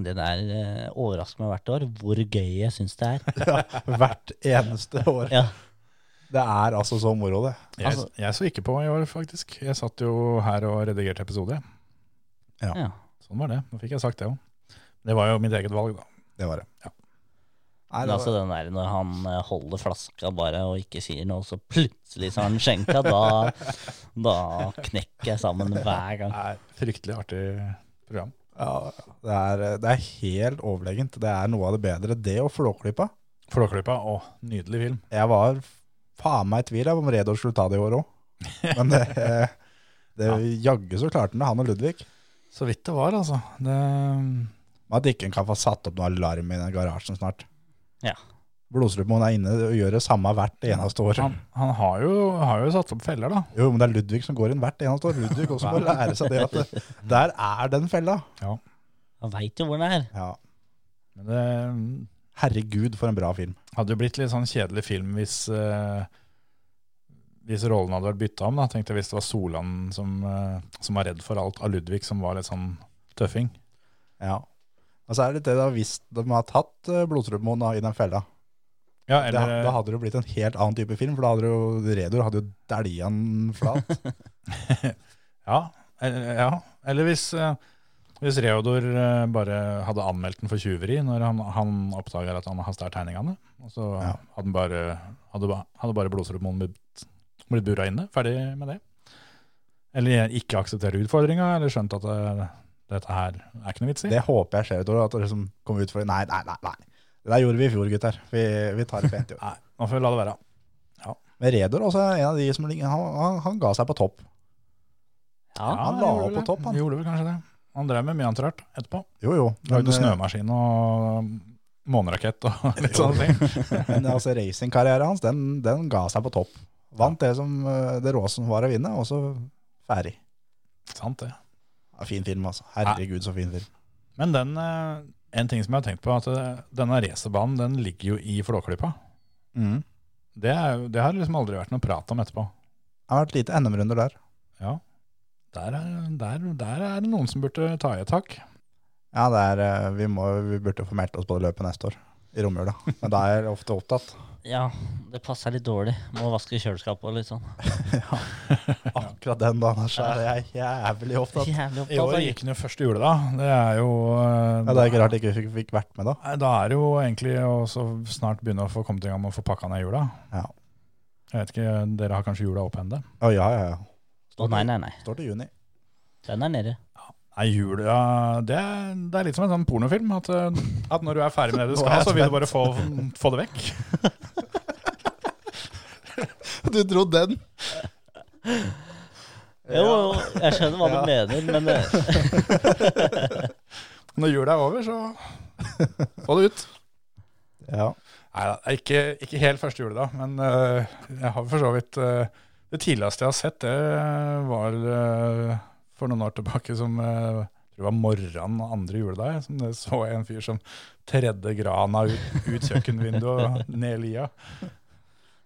Det der eh, overrasker meg hvert år hvor gøy jeg syns det (laughs) er. Hvert eneste år. Ja. Det er altså så moro, det. Jeg, Altså- jeg så ikke på i år, faktisk. Jeg satt jo her og redigerte episode. Ja. Ja. Sånn var det. Nå fikk jeg sagt det òg. Det var jo mitt eget valg, da. Det var det. Ja. Nei, Men det altså var, den der når han eh, holder flaska bare og ikke sier noe, så plutselig så har han skjenka, da, da knekker jeg sammen hver gang. Det er fryktelig artig program. ja, det, er, det er helt overlegent. Det er noe av det bedre. Det og Flåklypa. Flåklypa og nydelig film. Jeg var faen meg i tvil jeg, om Redor skulle ta det i år òg. Men (laughs) det, eh, det jaggu så klarte han det, han og Ludvig. Så vidt det var, altså. Det, Men At ikke en kan få satt opp noe alarm i den garasjen snart. Ja. Blodstrupmoen er inne og gjør det samme hvert eneste år. han han har, jo, har jo satt opp feller, da. Jo, men det er Ludvig som går inn hvert eneste år. Ludvig også (laughs) må lære seg det at det, der er den fella. Han veit jo hvor den er. Ja. Men det mm, Herregud, for en bra film. hadde jo blitt litt sånn kjedelig film hvis eh, hvis rollen hadde vært bytta om, da, tenkte jeg hvis det var Solan som, eh, som var redd for alt, av Ludvig som var litt sånn tøffing. Ja. Og så er det litt det da, hvis de har tatt eh, Blodstrupmoen da i den fella, Ja, det, eller, da hadde det jo blitt en helt annen type film, for da hadde jo Redor hadde jo dælja den flat. Ja, eller, ja. eller hvis, eh, hvis Reodor eh, bare hadde anmeldt den for tjuveri når han, han oppdager at han har stjålet tegningene, og så Ja. hadde, han bare, hadde, ba- hadde bare blodsrummoen blitt, blitt bura inne, ferdig med det. Eller ikke akseptere utfordringa, eller skjønt at det, dette her er ikke noe vits i. Det håper jeg skjer et år, at det liksom kommer ut for Nei, nei, nei. nei. Det der gjorde vi i fjor, gutter. Vi, vi tar det pent i år. Nei, nå får vi la det være. Men Redor også er en av de som ligger- han, han, han ga seg på topp. Ja. han la gjorde opp vel på det. topp, han. Gjorde vel kanskje det. Han drev med mye annet rart etterpå. Jo, jo. Lagde eh, snømaskin og månerakett og (laughs) litt Jo. sånne ting. Men altså, racingkarrieren hans, den, den ga seg på topp. Vant det som eh, det råeste som var å vinne, og så ferdig. Sant det. Ja, fin film, altså. Herregud, så fin film. Men den, eh, en ting som jeg har tenkt på, er at eh, denne racerbanen den ligger jo i Flåklypa. Mm. Det, er, jo- det har liksom aldri vært noe prat om etterpå. Det har vært lite NM-runder der. Ja, der er, der, der er det noen som burde ta i et tak. Ja, det er, eh, vi, må, vi burde få meldt oss på det løpet neste år, i romjula. Men da er jeg ofte opptatt. ja, det passer litt dårlig. Må vaske kjøleskapet og litt sånn. Akkurat den dagen her, så er jeg jævlig opptatt. (laughs) Jævlig I år opptatt altså. av gikk den jo første jule, da. Det er jo eh, Ja, det er ikke rart jeg ikke fikk, fikk vært med da. Nei, Da er det jo egentlig å så snart begynne å få kommet i gang med å få pakka ned jula. Ja. Jeg vet ikke, Dere har kanskje jula oppe ennå? Å ja, ja, ja. Å nei, nei, nei. Står til juni. Den er nede. Nei, jula det, er- det er litt som en sånn pornofilm. At, eh, at når du er ferdig (laughs) med det du Nå er skal, jeg så vil du bare få, få det vekk. (laughs) Du dro den? Jo, jo, jeg skjønner hva du mener, men det, Når jula er over, så (laughs) få det ut. Ja. Nei da, ikke, ikke helt første jule, da. Men øh, jeg har for så vidt øh, Det tidligste jeg har sett, det var øh, for noen år tilbake som øh, jeg tror det var morgenen andre juledag. Som det så jeg en fyr som tredde grana ut, ut kjøkkenvinduet og ned i lia.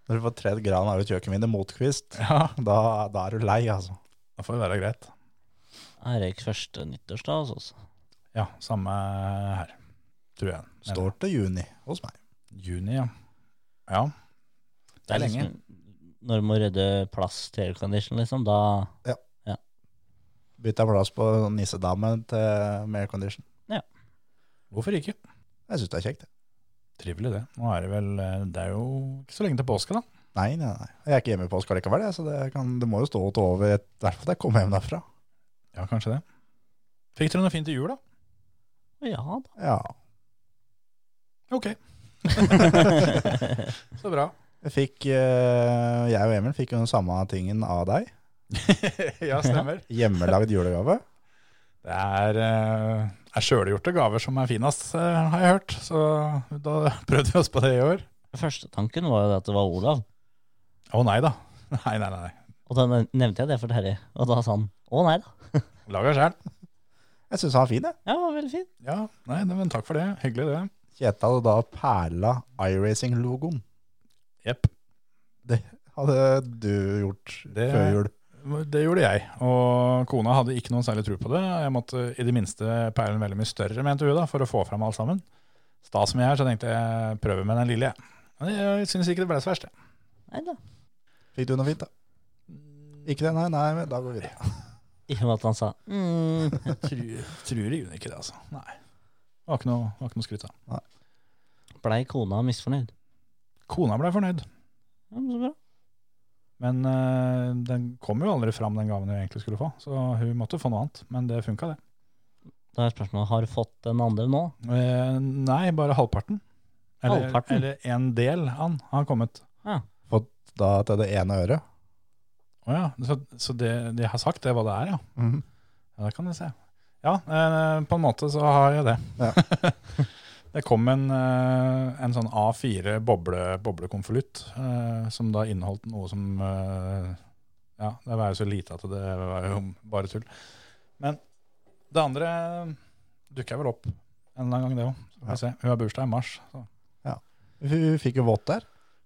Når du får tredd gran av et kjøkkenvindu mot kvist, Ja, da, da er du lei, altså. da får det være greit. jeg røyk første nyttårsdag altså. hos oss. Ja, samme her, tror jeg. Men- Står til juni hos meg. Juni, ja. Ja, det er lenge. Liksom, når du må rydde plass til aircondition, liksom, da Bytta plass på nissedamen til med aircondition. Hvorfor ikke? Jeg syns det er kjekt. jeg. Trivelig, det. Nå er det vel øh, Det er jo ikke så lenge til påske, da. Nei, nei, nei. Jeg er ikke hjemme i påska likevel, jeg, så det, kan, det må jo stå til over et- i hvert fall til jeg kommer hjem derfra. Ja, kanskje det. Fikk dere noe fint til jul, da? Ja (laughs) da. Ja. Ok. Så bra. Jeg fikk, eh, jeg og Emil fikk jo den samme tingen av deg. (laughs) ja, stemmer. Hjemmelagd julegave. (laughs) Det er, eh, er sjølgjorte gaver som er finest, eh, har jeg hørt. Så da prøvde vi oss på det i år. Første tanken var jo at det var Olav. Å nei da. (laughs) Nei, nei, nei. nei. Og da nevnte jeg det for Terje, og da sa han å nei da. Laga sjæl. Jeg syns han er fin, jeg. Ja, var veldig fin. Ja, nei, nei, men takk for det. Hyggelig, det. Kjetil hadde da perla iRacing-logoen. Jepp. Hadde du gjort Det- før jul? Det gjorde jeg, og kona hadde ikke noen særlig tro på det. Jeg måtte i det minste peile den veldig mye større, mente hun, da, for å få fram alt sammen. Sta som jeg er, så tenkte jeg prøve med den lille, jeg. Men jeg syns ikke det ble så verst. jeg. Nei da. Fikk du noe fint, da? Ikke det? Nei, nei, men da går vi videre. I og med at han sa mm. Jeg tror, tror i grunnen ikke det, altså. Nei. Det var ikke noe, var ikke noe skryt av. Blei kona misfornøyd? Kona ble fornøyd, Ja, men så bra. men eh, den kom jo aldri fram, den gaven hun egentlig skulle få. Så hun måtte få noe annet, men det funka, det. Da er spørsmålet har du fått den andre nå. Eh, nei, bare halvparten. Eller, Halvparten? eller en del av den har kommet. Da til det ene øret. Å ja, så, så det de har sagt, det er hva det er, ja. Ja, det kan jeg se. Ja, eh, på en måte så har jeg det. (laughs) det kom en, eh, en sånn A4 boble, boblekonvolutt eh, som da inneholdt noe som eh, Ja, det var jo så lite at det var jo bare tull. Men det andre dukker vel opp en eller annen gang, det òg. Skal vi Ja. se. Hun har bursdag i mars. Så. Hun fikk jo vått der.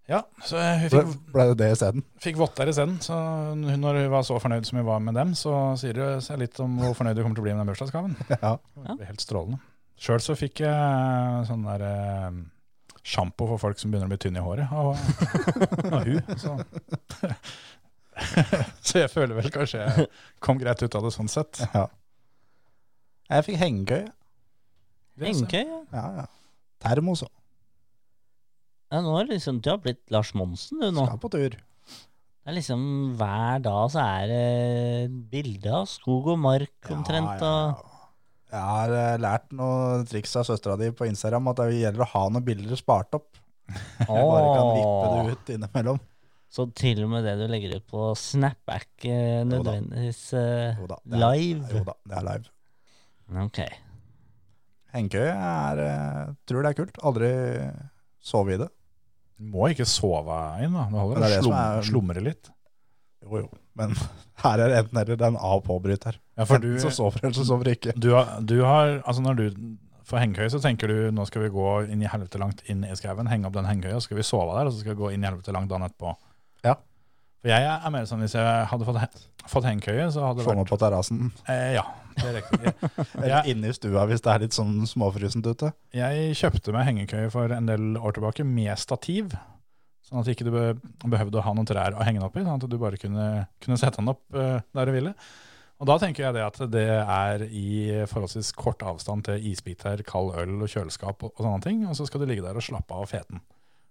Ja, så hun Ble, fikk, ble det det isteden? fikk votter isteden. Så hun, når hun var så fornøyd som hun var med dem, så sier det seg litt om hvor fornøyd hun kommer til å bli med den bursdagsgaven. (laughs) Ja. Det blir helt strålende. Sjøl så fikk jeg sånn der eh, sjampo for folk som begynner å bli tynne i håret. Og, og hun, så. (laughs) så jeg føler vel kanskje jeg kom greit ut av det sånn sett. ja. Jeg fikk hengekøye. Engekøy, ja. Ja, ja. Termos òg. ja. Nå er det liksom, du har blitt Lars Monsen, du nå. Skal på tur. Det er liksom hver dag så er det bilde av skog og mark omtrent. Ja, ja, og- ja. Jeg har eh, lært noen triks av søstera di på Instagram at det gjelder å ha noen bilder spart opp. Du bare kan vippe det ut innimellom. Så til og med det du legger ut på Snap, er ikke nødvendigvis eh, Jo da, det er- Jo live. da, det er live. Ok. Hengekøye er eh, Tror det er kult. Aldri sove i det. Du må ikke sove inn, da. Det holder Det å er det som slum, er- slumre litt. Jo, jo. Men (laughs) her er det enten eller. Det er en av og på-bryter. Ja, for du, Enten så sover eller så sover du ikke. du, har, du har Altså, når du får hengekøye, så tenker du nå skal vi gå inn i helvete langt inn i skauen, henge opp den hengekøya, så skal vi sove der, og så skal vi gå inn i helvete langt dagen etterpå. Ja. For jeg er mer sånn hvis jeg hadde fått, he- fått hengekøye, så hadde det Få vært meg på terrassen. Eh, ja, det er riktig. Eller inne i stua hvis det er litt sånn småfrysent ute. Jeg kjøpte meg hengekøye for en del år tilbake med stativ, sånn at ikke du be behøvde å ha noen trær å henge den opp i, sånn at du bare kunne, kunne sette den opp eh, der du ville. Og da tenker jeg det at det er i forholdsvis kort avstand til isbiter, kald øl og kjøleskap og, og sånne ting, og så skal du ligge der og slappe av feten.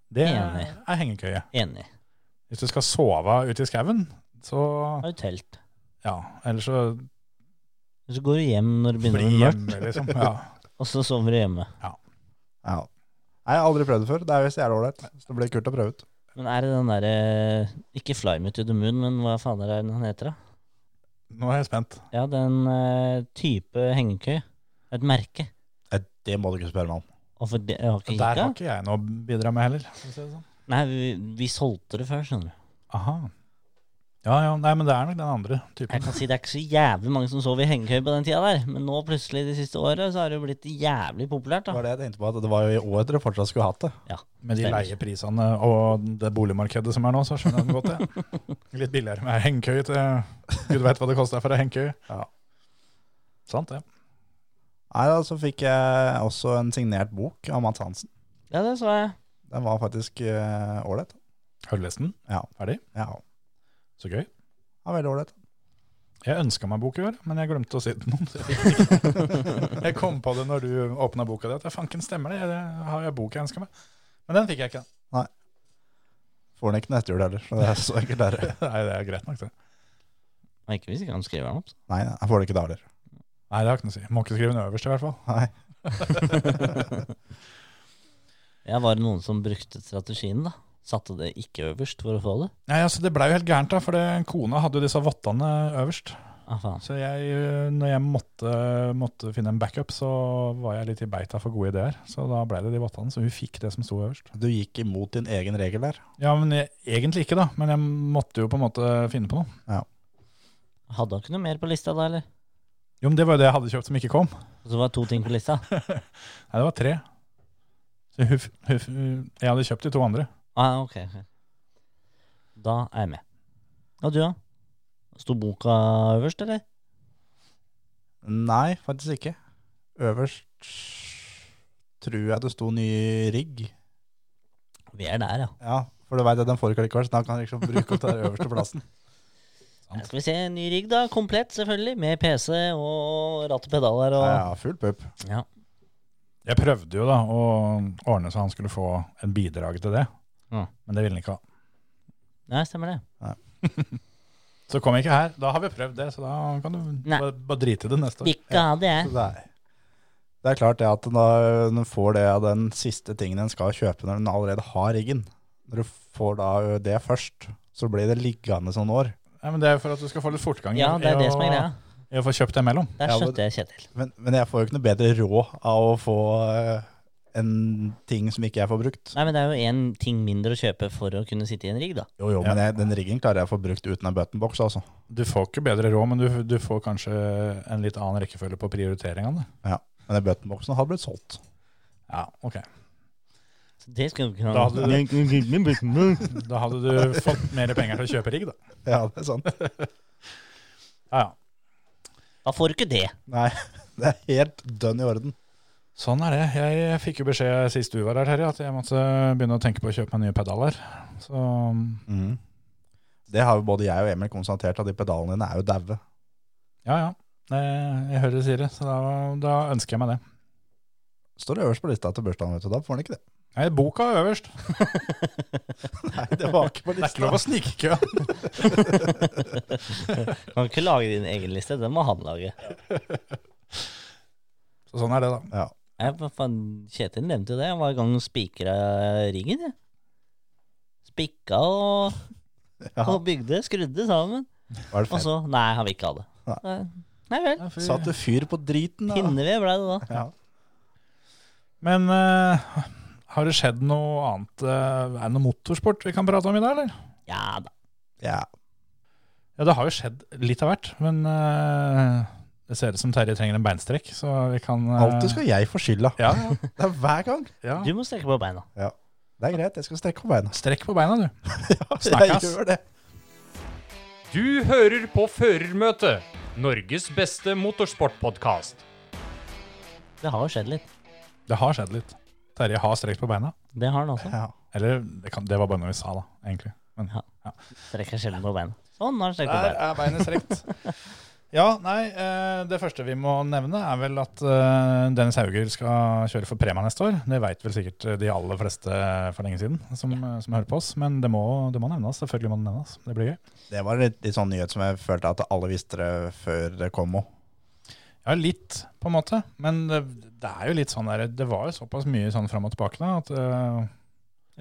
Det er, Enig. er hengekøye. Enig. Hvis du skal sove ute i skauen, så Har du telt? ja, eller så Så går du hjem når det begynner å bli bli mørkt, hjemme, liksom. Ja. og så sover du hjemme. Ja. Nei, Jeg har aldri prøvd det før. Det er visst jævlig ålreit. Så det blir kult å prøve ut. Men er det den derre Ikke Fly Me To The Moon, men hva faen er det den heter, da? Nå er jeg spent. Ja, den eh, type hengekøye. Et merke. Nei, Det må du ikke spørre meg om. Og for det, jeg har ikke Der har gikk ikke jeg noe å bidra med heller. for å si det sånn. Nei, vi, vi solgte det før, skjønner du. Aha. Ja, ja, nei, men det er nok den andre Jeg typen. kan si Det er ikke så jævlig mange som sov i hengekøye på den tida der, men nå plutselig de siste åra så har det jo blitt jævlig populært, Det da. var det jeg tenkte på, at det var jo i år dere fortsatt skulle hatt det. Ja, Med de stemmer. leieprisene og det boligmarkedet som er nå, så skjønner jeg den godt, jeg. Litt billigere med hengekøye til Gud veit hva det koster for ei hengekøye. Ja. Sant, det. Nei, da, Så fikk jeg også en signert bok av Mads Hansen. Ja, det så jeg. Den var faktisk eh, ålreit. Har du lest den? Ja. Ferdig? ja, Så gøy. ja, veldig ålreit. Jeg ønska meg bok i år, men jeg glemte å si det til noen. så jeg fikk den ikke. Jeg kom på det når du åpna boka di, at ja, fanken stemmer det, jeg har jo bok jeg ønska meg. Men den fikk jeg ikke. Får den ikke neste jul heller, så det er så enkelt der. (laughs) Nei, det er greit nok, det. Og ikke hvis ikke han skriver den opp. Nei, jeg får det ikke da heller. Nei, det har ikke noe å si. Må ikke skrive den øverst, i hvert fall. Nei. Ja, var det noen som brukte strategien, da? Satte det ikke øverst for å få det? Nei, altså, det blei jo helt gærent, da, for det, kona hadde jo disse vottene øverst. Ah, faen. Så jeg, eh, når jeg måtte, måtte finne en backup, så var jeg litt i beita for gode ideer. Så da ble det de vottene, så hun fikk det som sto øverst. Du gikk imot din egen regel der. Ja, men jeg, egentlig ikke da, men jeg måtte jo på en måte finne på noe. Hadde han ikke noe mer på lista da, eller? Jo, men det var jo det jeg hadde kjøpt som ikke kom. Og så var det to ting på lista. Nei, det var tre. Så huff, huff, jeg hadde kjøpt de to andre. Ah, ok. ok. Da er jeg med. Og du, da? Sto boka øverst, eller? Nei, faktisk ikke. Øverst tror jeg det sto ny rigg. Vi er der, ja. Ja, for du veit at den får ikke likevel, så da kan du liksom bruke opp den øverste plassen. Her skal vi se. Ny rigg, da. Komplett, selvfølgelig. Med PC og ratt og pedaler og Ja, full pupp. Ja. Jeg prøvde jo da å ordne så han skulle få en bidrag til det, Ja. men det ville han ikke ha. Nei, stemmer det. Så kom jeg ikke her. Da har vi prøvd det, så da kan du Nei. bare, bare drite i det neste år. Ikke hadde Så jeg. det er, det er klart det at når den får det av den siste tingen den skal kjøpe når den allerede har riggen. Når du får da det først, så blir det liggende sånn år. Nei, men det er for at du skal få litt fortgang i- Ja, det i er det å- som er greia. i å få kjøpt det imellom. Der Ja, men- skjønte jeg Kjetil. Men, men jeg får jo ikke noe bedre råd av å få eh, en ting som ikke jeg får brukt. Nei, men det er jo én ting mindre å kjøpe for å kunne sitte i en rigg, da. Jo, jo, Ja. men jeg, den riggen klarer jeg å få brukt uten en buttonbox, altså. Du får ikke bedre råd, men du, du får kanskje en litt annen rekkefølge på prioriteringene. Men den buttonboxen hadde blitt solgt. Ja, ok. Så det skulle du kunne Da hadde Da hadde du fått mer penger til å kjøpe rigg, da. (laughs) Ja, det er sant. Ja, ja. Da får du ikke det. (laughs) Nei, (laughs) det er helt dønn i orden. Sånn er det. Jeg fikk jo beskjed sist du var her, Terje, at jeg måtte begynne å tenke på å kjøpe meg nye pedaler. Så Mm. Det har jo både jeg og Emil konstatert, at de pedalene dine er jo daue. ja, ja. Det, jeg hører du sier det, så da, da ønsker jeg meg det. Står øverst på lista til bursdagen, vet du. Da får han ikke det. Nei, boka er øverst. (laughs) Nei, det var ikke på Det er ikke lov å snike i køen. Kan ikke lage din egen liste, den må han lage. Så sånn er det, da. Ja. Nei, hva faen, Kjetil nevnte jo det. Han var i gang og spikra riggen, jeg. Spikka og, Ja. og bygde, skrudde sammen. Var det Og feil? så Nei, han vil ikke ha det. Nei, nei vel. Satte fyr på driten, da. Pinneved ble det da. Ja. Men eh, har det skjedd noe annet? eh, er det noe motorsport vi kan prate om i dag, eller? Ja da. ja. Ja, det har jo skjedd litt av hvert, men eh, det ser ut som Terje trenger en beinstrekk, så vi kan eh, Alltid skal jeg få skylda. Ja, ja, Det er hver gang. ja. (laughs) Du må strekke på beina. Det er greit, jeg skal strekke på (laughs) beina. Strekk på beina, du. Jeg Snakkes. gjør det. Du hører på Førermøtet, Norges beste motorsportpodkast. Det har jo skjedd litt. Det har skjedd litt. Terje har strekt på beina. Det har han også. Ja. Eller det, kan, det var bare noe vi sa, da, egentlig. Men, Strekker sjelden på beina. Sånn, nå har han strekt på beina. er beinet strekt. ja, nei, eh, det første vi må nevne er vel at eh, Dennis Hauger skal kjøre for Prema neste år. Det veit vel sikkert eh, de aller fleste for lenge siden som, eh, som hører på oss, men det må, det må nevnes. Selvfølgelig må det nevnes. Det blir gøy. Det var litt, litt sånn nyhet som jeg følte at alle visste det før det kom òg. Ja, litt, på en måte. Men det, det er jo litt sånn der Det var jo såpass mye sånn fram og tilbake da, at eh,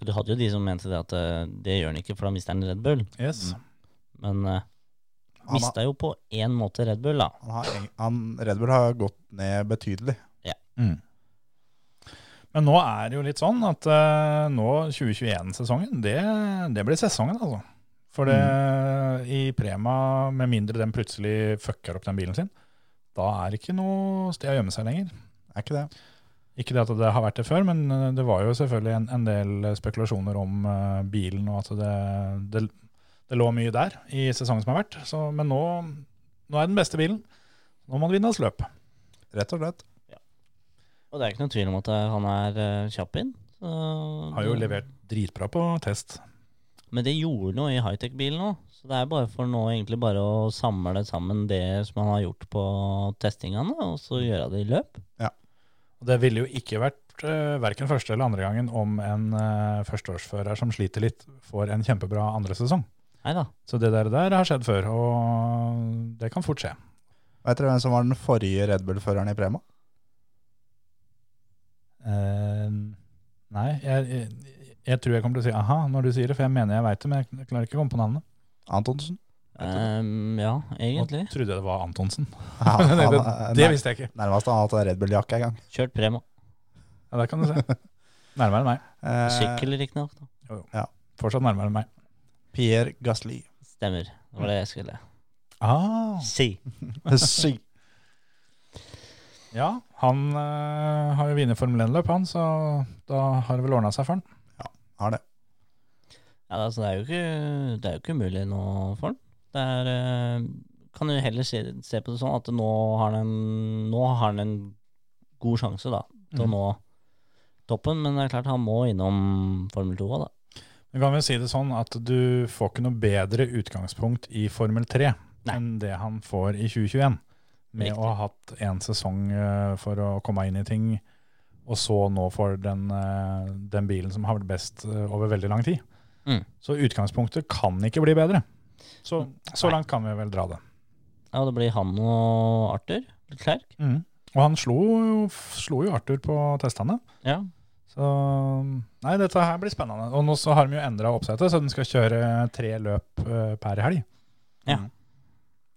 Du hadde jo de som mente det at eh, det gjør han ikke, for da mister han Red Bull. Yes. Men uh, Han har- mista jo på én måte Red Bull, da. Han har, han, Red Bull har gått ned betydelig. Mm. Men nå er det jo litt sånn at eh, nå 2021-sesongen, det, det blir sesongen, altså. For det, i Prema, med mindre den plutselig fucker opp den bilen sin, da er det ikke noe sted å gjemme seg lenger. Er ikke det? Ikke det at det har vært det før, men eh, det var jo selvfølgelig en, en del spekulasjoner om eh, bilen, og at det, det, det lå mye der i sesongen som har vært. Så, men nå, nå er den beste bilen. Nå må den vinne oss løp. Rett og slett. Og det er ikke noen tvil om at eh, han er eh, kjapp inn. så- Har jo levert dritbra på test. Men det gjorde noe i high-tech-bilen òg. Så det er bare for nå egentlig bare å samle sammen det som han har gjort på testingene, og så gjøre det i løp. Og Det ville jo ikke vært uh, verken første eller andre gangen om en eh, førsteårsfører som sliter litt, får en kjempebra andre sesong. Nei da. Så det der, der har skjedd før, og det kan fort skje. Vet dere hvem som var den forrige Red Bull-føreren i Prema? Eh, nei, jeg, jeg, jeg tror jeg kommer til å si aha når du sier det, for jeg mener jeg veit det, men jeg klarer ikke å komme på navnet. (laughs) Antonsen? Ehm, ja, Nå egentlig. trodde jeg det var Antonsen. Ja, han, (laughs) det, det, det nær- visste jeg ikke. nærmest han hadde Red Bull-jakke en gang. Kjørt Prema. Ja, der kan du se. Nærmere enn meg. Eh, Sykkel, riktignok. da. Fortsatt nærmere enn meg. Pierre (laughs) Gasly. Stemmer. Det var det jeg skulle Ah, si. Syk. Ja, han eh, har jo vunnet Formel 1-løp, han, så da har det vel ordna seg for han. Har det. Ja, altså, det er jo ikke, det er jo ikke umulig nå for han. Det er eh, Kan jo heller se, se på det sånn at nå har han en, nå har han en god sjanse, da, til å nå toppen. Men det er klart, han må innom Formel 2 òg, da. Du kan vel si det sånn at du får ikke noe bedre utgangspunkt i Formel 3 Nei. enn det han får i 2021. Med Riktig. å ha hatt én sesong eh, for å komme inn i ting, og så nå får den, eh, den bilen som har vært best eh, over veldig lang tid. Mm. Så utgangspunktet kan ikke bli bedre. Så, så Nei. langt kan vi vel dra det. Ja, og det blir han og Arthur Klerk. Mm. Og han slo, jo- slo jo Arthur på testene. Ja. Så Nei, dette her blir spennende. Og nå så har de jo endra oppsettet, så den skal kjøre tre løp eh, per helg. Ja. Mm.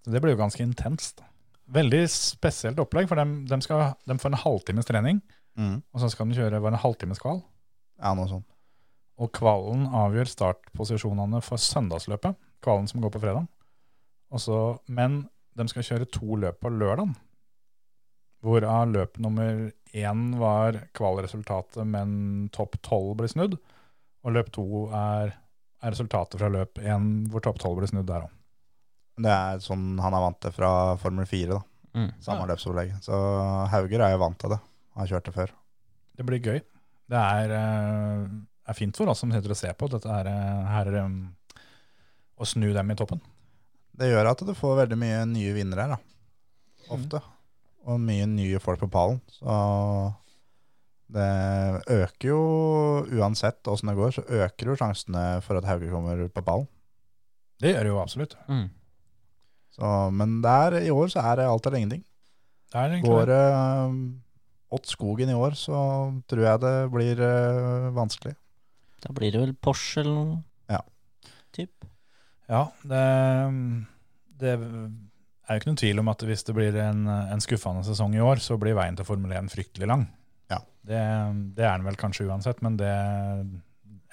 Så det blir jo ganske intenst. Veldig spesielt opplegg, for dem, dem skal, dem får en halvtimes trening, og så skal de kjøre bare en halvtimes kval. Ja, noe sånt. Og kvalen avgjør startposisjonene for søndagsløpet, kvalen som går på fredag. Og så- men de skal kjøre to løp på lørdag, hvorav løp nummer én var kvalresultatet, men topp tolv ble snudd. Og løp to er, er resultatet fra løp én, hvor topp tolv ble snudd der òg. Det er sånn han er vant til fra Formel 4, da. Mm. Samme løpsopplegg. Så Hauger er jo vant til det. Han kjørte før. Det blir gøy. Det er, eh, er fint for oss som sitter og ser på dette her, eh, her em, å snu dem i toppen. Det gjør at du får veldig mye nye vinnere her, da. Mm. Ofte. Og mye nye folk på pallen. Så det øker jo Uansett åssen det går, så øker jo sjansene for at Hauger kommer på pallen. Det gjør det jo absolutt. Mm. Så, men der i år så er det alt eller ingenting. Det er egentlig Går det. det eh, åt skogen i år, så tror jeg det blir eh, vanskelig. Da blir det vel Porsche eller noe. Ja. Typ. Ja, det, det er jo ikke noen tvil om at hvis det blir en, en skuffende sesong i år, så blir veien til Formel 1 fryktelig lang. Ja. Det, det er den vel kanskje uansett, men det,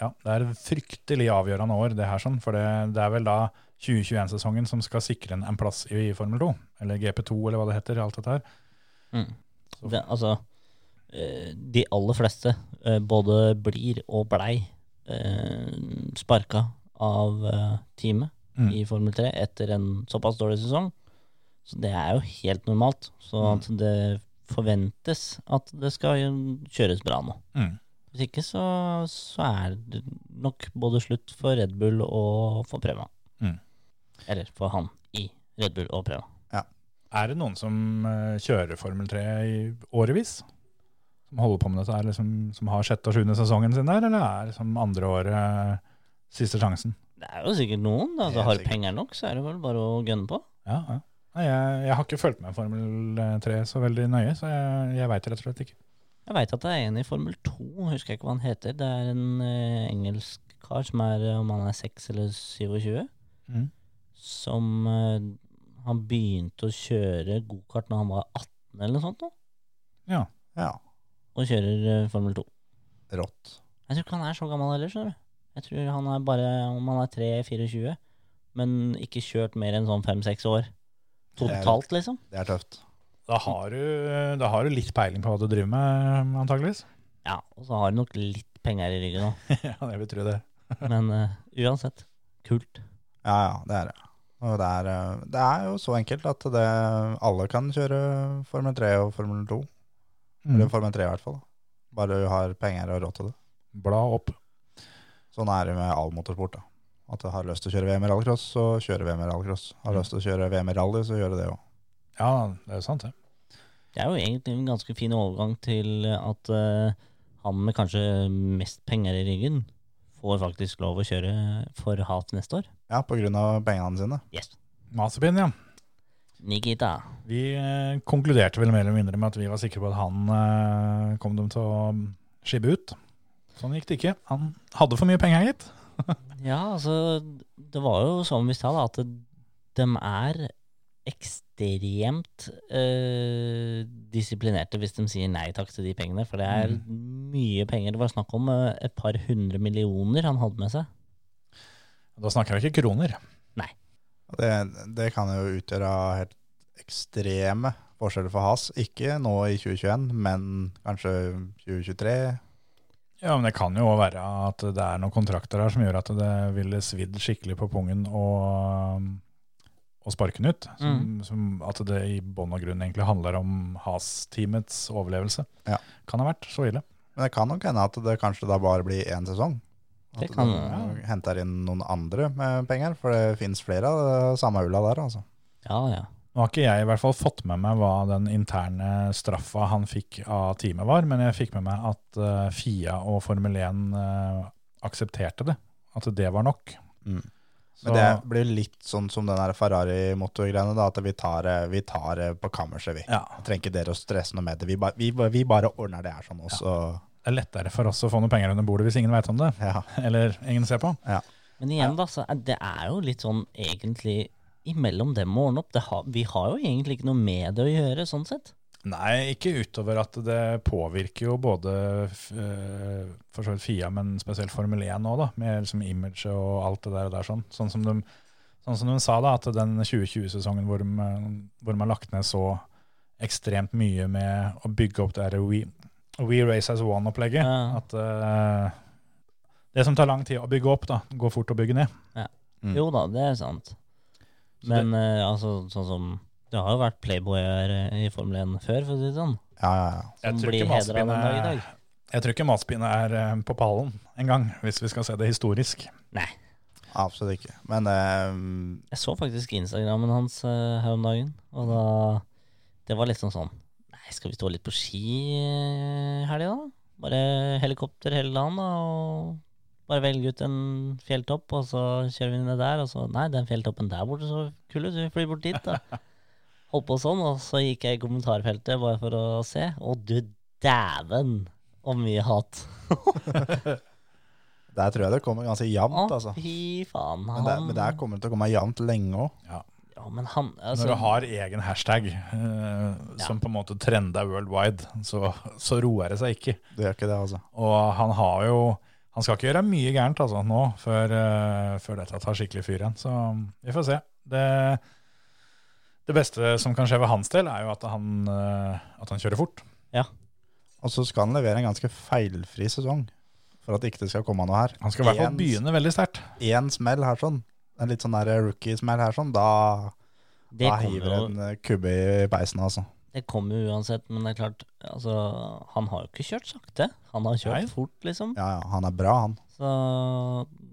ja, det er et fryktelig avgjørende år, det her. sånn, For det, det er vel da 2021-sesongen som skal sikre en, en plass i, Formel 2, eller GP2, eller hva det heter. alt dette her. Mm. Så- Det, altså, eh, de aller fleste eh, både blir og blei eh, sparka av eh, teamet Mm. i Formel 3 etter en såpass dårlig sesong. Så det er jo helt normalt. Så Mm. at det forventes at det skal jo kjøres bra nå. Mm. Hvis ikke så, så er det nok både slutt for Red Bull og for Prema. Mm. Eller for han i Red Bull og Prema. Er det noen som eh, kjører Formel 3 i årevis? Som holder på med dette, er liksom, som har sjette og sjuende sesongen sin der, eller er det som andre året eh, siste sjansen? Det er jo sikkert noen. da. Altså, Helt har du sikkert. penger nok, så er det vel bare å gønne på. Ja, ja. Nei, jeg, jeg har ikke fulgt med Formel 3 så veldig nøye, så jeg, jeg veit rett og slett ikke. Jeg veit at det er en i Formel 2, husker jeg ikke hva han heter. Det er en eh, engelsk kar som er eh, om han er 6 eller 27, Mm. Mhm. som eh, Han begynte å kjøre gokart når han var 18 eller noe sånt, nå, Ja, og kjører eh, Formel 2. rått. Jeg tror ikke han er så gammel heller, skjønner du. Jeg tror han er bare om han er 3-24, men ikke kjørt mer enn sånn 5-6 år. Totalt, liksom. Det er tøft. Da har, du, eh, da har du litt peiling på hva du driver med, eh, antageligvis. Ja, og så har han nok litt penger i ryggen òg, ja, det vil tro det. men eh, uansett. Kult. Ja, ja, det er det. Og det er, eh, det er jo så enkelt at det, alle kan kjøre Formel 3 og Formel 2. Mm. Eller Formel 3 i hvert fall. da. Bare du har penger og råd til det. Bla opp. Sånn er det med all motorsport. da. At du har lyst til å kjøre VM i rallycross, så kjører VM i rallycross. Har lyst til å kjøre VM i rally, så gjør du det òg. Ja, det er jo sant, det. Det er jo egentlig en ganske fin overgang til at eh, han med kanskje mest penger i ryggen får faktisk lov å kjøre for hat neste år. Ja, på grunn av pengene sine. Yes. Masepin, ja. Nikita. Vi eh, konkluderte vel mer eller mindre med at vi var sikre på at han eh, kom dem til å skibbe ut. Sånn gikk det ikke. Han hadde for mye penger, gitt. Ja, altså, det var jo som vi sa, da, at de er ekstremt eh, disiplinerte hvis de sier nei takk til de pengene, for det er mye penger. Det var snakk om eh, et par hundre millioner han hadde med seg. Da snakker vi ikke kroner. Og Det, det kan jo utgjøre helt ekstreme forskjell for Has. Ikke nå i 2021, men kanskje 2023. Ja, men det kan jo også være at det er noen kontrakter her som gjør at det ville svidd skikkelig på pungen og, og sparke den ut. Som, som at det i bånn og grunn egentlig handler om Has-teamets overlevelse. Ja. Kan ha vært så ille. Men det kan nok hende at det kanskje da bare blir én sesong. At Det kan de være. henter inn noen andre med penger, for det fins flere av det samme ulla der, altså. Ja, ja. Nå har ikke jeg i hvert fall fått med meg hva den interne straffa han fikk av teamet var, men jeg fikk med meg at eh, FIA og Formel 1 eh, aksepterte det. At det var nok. Mm. Så- Men det blir litt sånn som den der Ferrari-motorgreiene, da, at vi tar, det- vi tar det på kammerset, vi. ja, Trenger ikke dere å stresse noe med det. Vi, ba, vi, ba- vi bare ordner det her sånn også. det er lettere for oss å få noen penger under bordet hvis ingen veit om det. Ja. Eller ingen ser på. Men igjen, da, så er det er jo litt sånn egentlig imellom dem å ordne opp. Det har, vi har jo egentlig ikke noe med det å gjøre, sånn sett. Nei, ikke utover at det påvirker jo både f- eh, for så vidt FIA, men spesielt Formel 1 òg, da. Med liksom image og alt det der og der sånn. Sånn som de, sånn som de sa, da, at den 2020-sesongen hvor, de, eh, hvor de har lagt ned så ekstremt mye med å bygge opp det her We, We Race As One-opplegget. Ja. At eh, det som tar lang tid å bygge opp, da, går fort å bygge ned. Mm. Jo da, det er sant. Så Men eh, altså, sånn som Det har jo vært playboyer eh, i Formel 1 før, for å si det sånn. Ja, ja, ja. Jeg Som tror blir ikke hedra den dag i Mazepin dag. er- Jeg tror ikke matspinnet er eh, på pallen engang, hvis vi skal se det historisk. Nei. Absolutt ikke. Men eh, Jeg så faktisk Instagrammen hans eh, her om dagen, og da Det var liksom sånn Nei, skal vi stå litt på ski eh, i helga, da? Bare helikopter hele dagen, da, og bare velge ut en fjelltopp, og så kjører vi ned der, og så Nei, den fjelltoppen der borte så kul ut, vi flyr bort (laughs) dit, da. Holdt på sånn, og så gikk jeg i kommentarfeltet bare for å se, og du dæven og mye hat. der tror jeg det kommer ganske Å, jevnt, altså. fy faen. Men Han, der, men der kommer det til å komme jevnt lenge òg. ja, men han altså, Når du har egen hashtag eh, som på en måte trenda worldwide, så, så roer det seg ikke. Det gjør ikke det, altså. Og han har jo Han skal ikke gjøre mye gærent altså, nå før, eh, før dette tar skikkelig fyr igjen. Så vi får se. Det, det beste som kan skje ved hans del, er jo at han, eh, at han kjører fort. Og så skal han levere en ganske feilfri sesong. For at ikke det skal komme noe her. Han skal i hvert fall Jens. begynne veldig sterkt. Én smell her sånn, en litt sånn der rookie-smell her sånn, da, det da kommer hiver jo en eh, kubbe i peisen, altså. Det kommer jo uansett, men det er klart altså, Han har jo ikke kjørt sakte. Han har kjørt Nei. fort, liksom. Ja, ja, han er bra, han. Så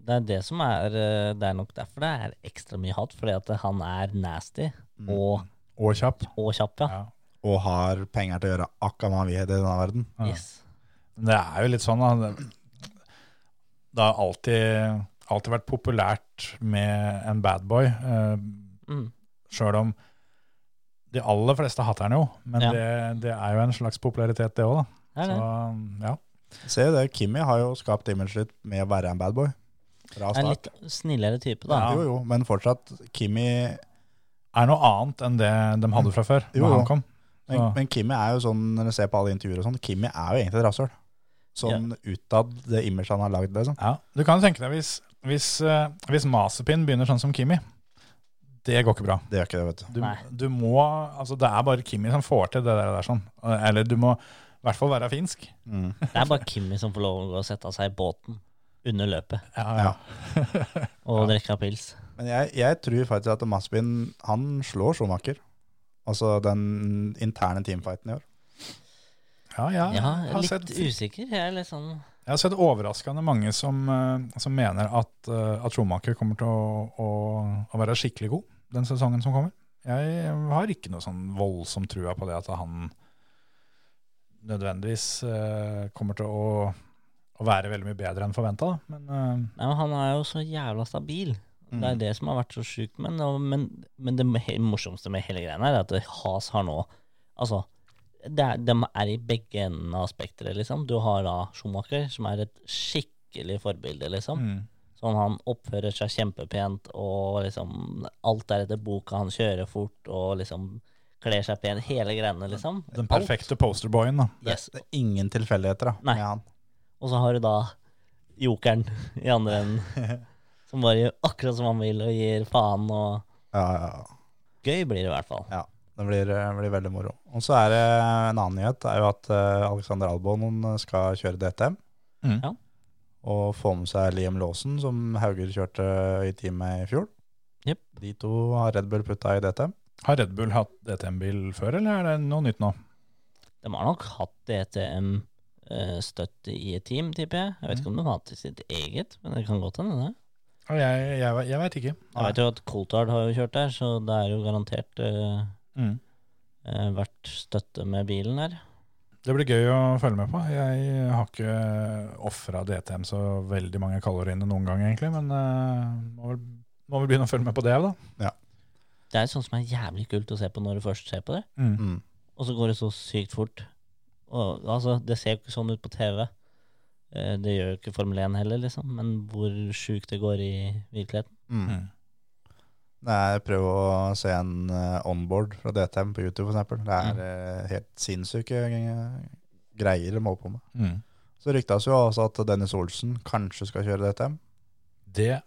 det er det som er eh, Det er nok derfor det er ekstra mye hat, fordi at han er nasty Mm. og, Og kjapp. og kjapp, ja. Ja. Og har penger til å gjøre akkurat hva han vil i denne verden. Ja. Yes. Men Det er jo litt sånn da, det- Det har alltid, alltid vært populært med en eh, badboy. Mm. Sjøl om de aller fleste hater han jo. Men Ja. det, det er jo en slags popularitet, det òg, da. Så, Det er det. ja. Se jo det, Kimmy har jo skapt imaget sitt med å være en bad boy. Fra Det er en start. litt snillere type, da. Jo, jo, men fortsatt, Kimmy Er noe annet enn det de hadde fra før, Jo, når jo. han kom. Men, Så- men Kimmy er jo sånn, når du ser på alle intervjuer og sånn, Kimmy er jo egentlig et rasshøl. Sånn utad, det imaget han har lagd, liksom. Ja. Du kan jo tenke deg hvis, hvis, eh, hvis Masepin begynner sånn som Kimi. Det går ikke bra. Det gjør ikke det, vet du. Du, Nei. du må, altså Det er bare Kimi som får til det der. der sånn. Eller du må i hvert fall være finsk. Mm. Det er bare Kimmy som får lov å gå og sette seg i båten under løpet ja. og drikke av pils. Men jeg, jeg tror faktisk at Maspin, han slår Schumacher. Altså den interne teamfighten i år. Ja, jeg Ja, har, litt sett, jeg usikker. Jeg er litt sånn har sett overraskende mange som, eh, som mener at, eh, at Schumacher kommer til å, å, å være skikkelig god den sesongen som kommer. Jeg har ikke noe sånn voldsom trua på det at han nødvendigvis eh, kommer til å, å være veldig mye bedre enn forventa. Men eh, Nei, men han er jo så jævla stabil. Det Mm. er det som har vært så sjukt med ham. Men, men det he- morsomste med hele greia er at Has har nå Altså, det er, de er i begge endene av spekteret, liksom. Du har da Schumacher, som er et skikkelig forbilde, liksom. Mm. Sånn han oppfører seg kjempepent, og liksom alt er etter boka. Han kjører fort og liksom kler seg pent. Hele greiene, liksom. den perfekte posterboyen, da. Yes. Det er ingen tilfeldigheter da, Nei. med han. Og så har du da jokeren i andre enden, som bare gjør akkurat som han vil og gir faen og Ja, ja, ja. Gøy blir det i hvert fall. Ja. Det blir, eh, blir veldig moro. Og så er det en annen nyhet, er jo at eh, Alexander Albon eh, skal kjøre DTM. Mm. Ja. Og få med seg Liam Lawson, som Hauger kjørte i teamet i fjor. Jep. De to har Red Bull putta i DTM. eh, Har Red Bull hatt DTM-bil før, eller er det noe nytt nå? De har nok hatt E DTM-støtte eh, i et team, tipper jeg. Jeg vet ikke om de har hatt det i sitt eget, men det kan godt hende, det. Jeg, jeg, jeg veit ikke. Jeg vet jo at Coulthard har jo kjørt der, så det er jo garantert eh, Mm. eh, vært støtte med bilen der. Det blir gøy å følge med på. Jeg har ikke ofra DTM så veldig mange kalorier inn noen gang, egentlig, men eh, må, vel, må vel begynne å følge med på det òg, da. Det er sånn som er jævlig kult å se på når du først ser på det, Mm. og så går det så sykt fort. Og, altså, det ser jo ikke sånn ut på TV. Eh, Det gjør jo ikke Formel 1 heller, liksom, men hvor sjukt det går i virkeligheten. Mm. Mm. Nei, jeg prøver å se en eh, onboard fra DTM på YouTube, f.eks. Det er eh, helt sinnssyke eh, greier de holder på med. Mm. Så ryktes jo også at Dennis Olsen kanskje skal kjøre DTM. Det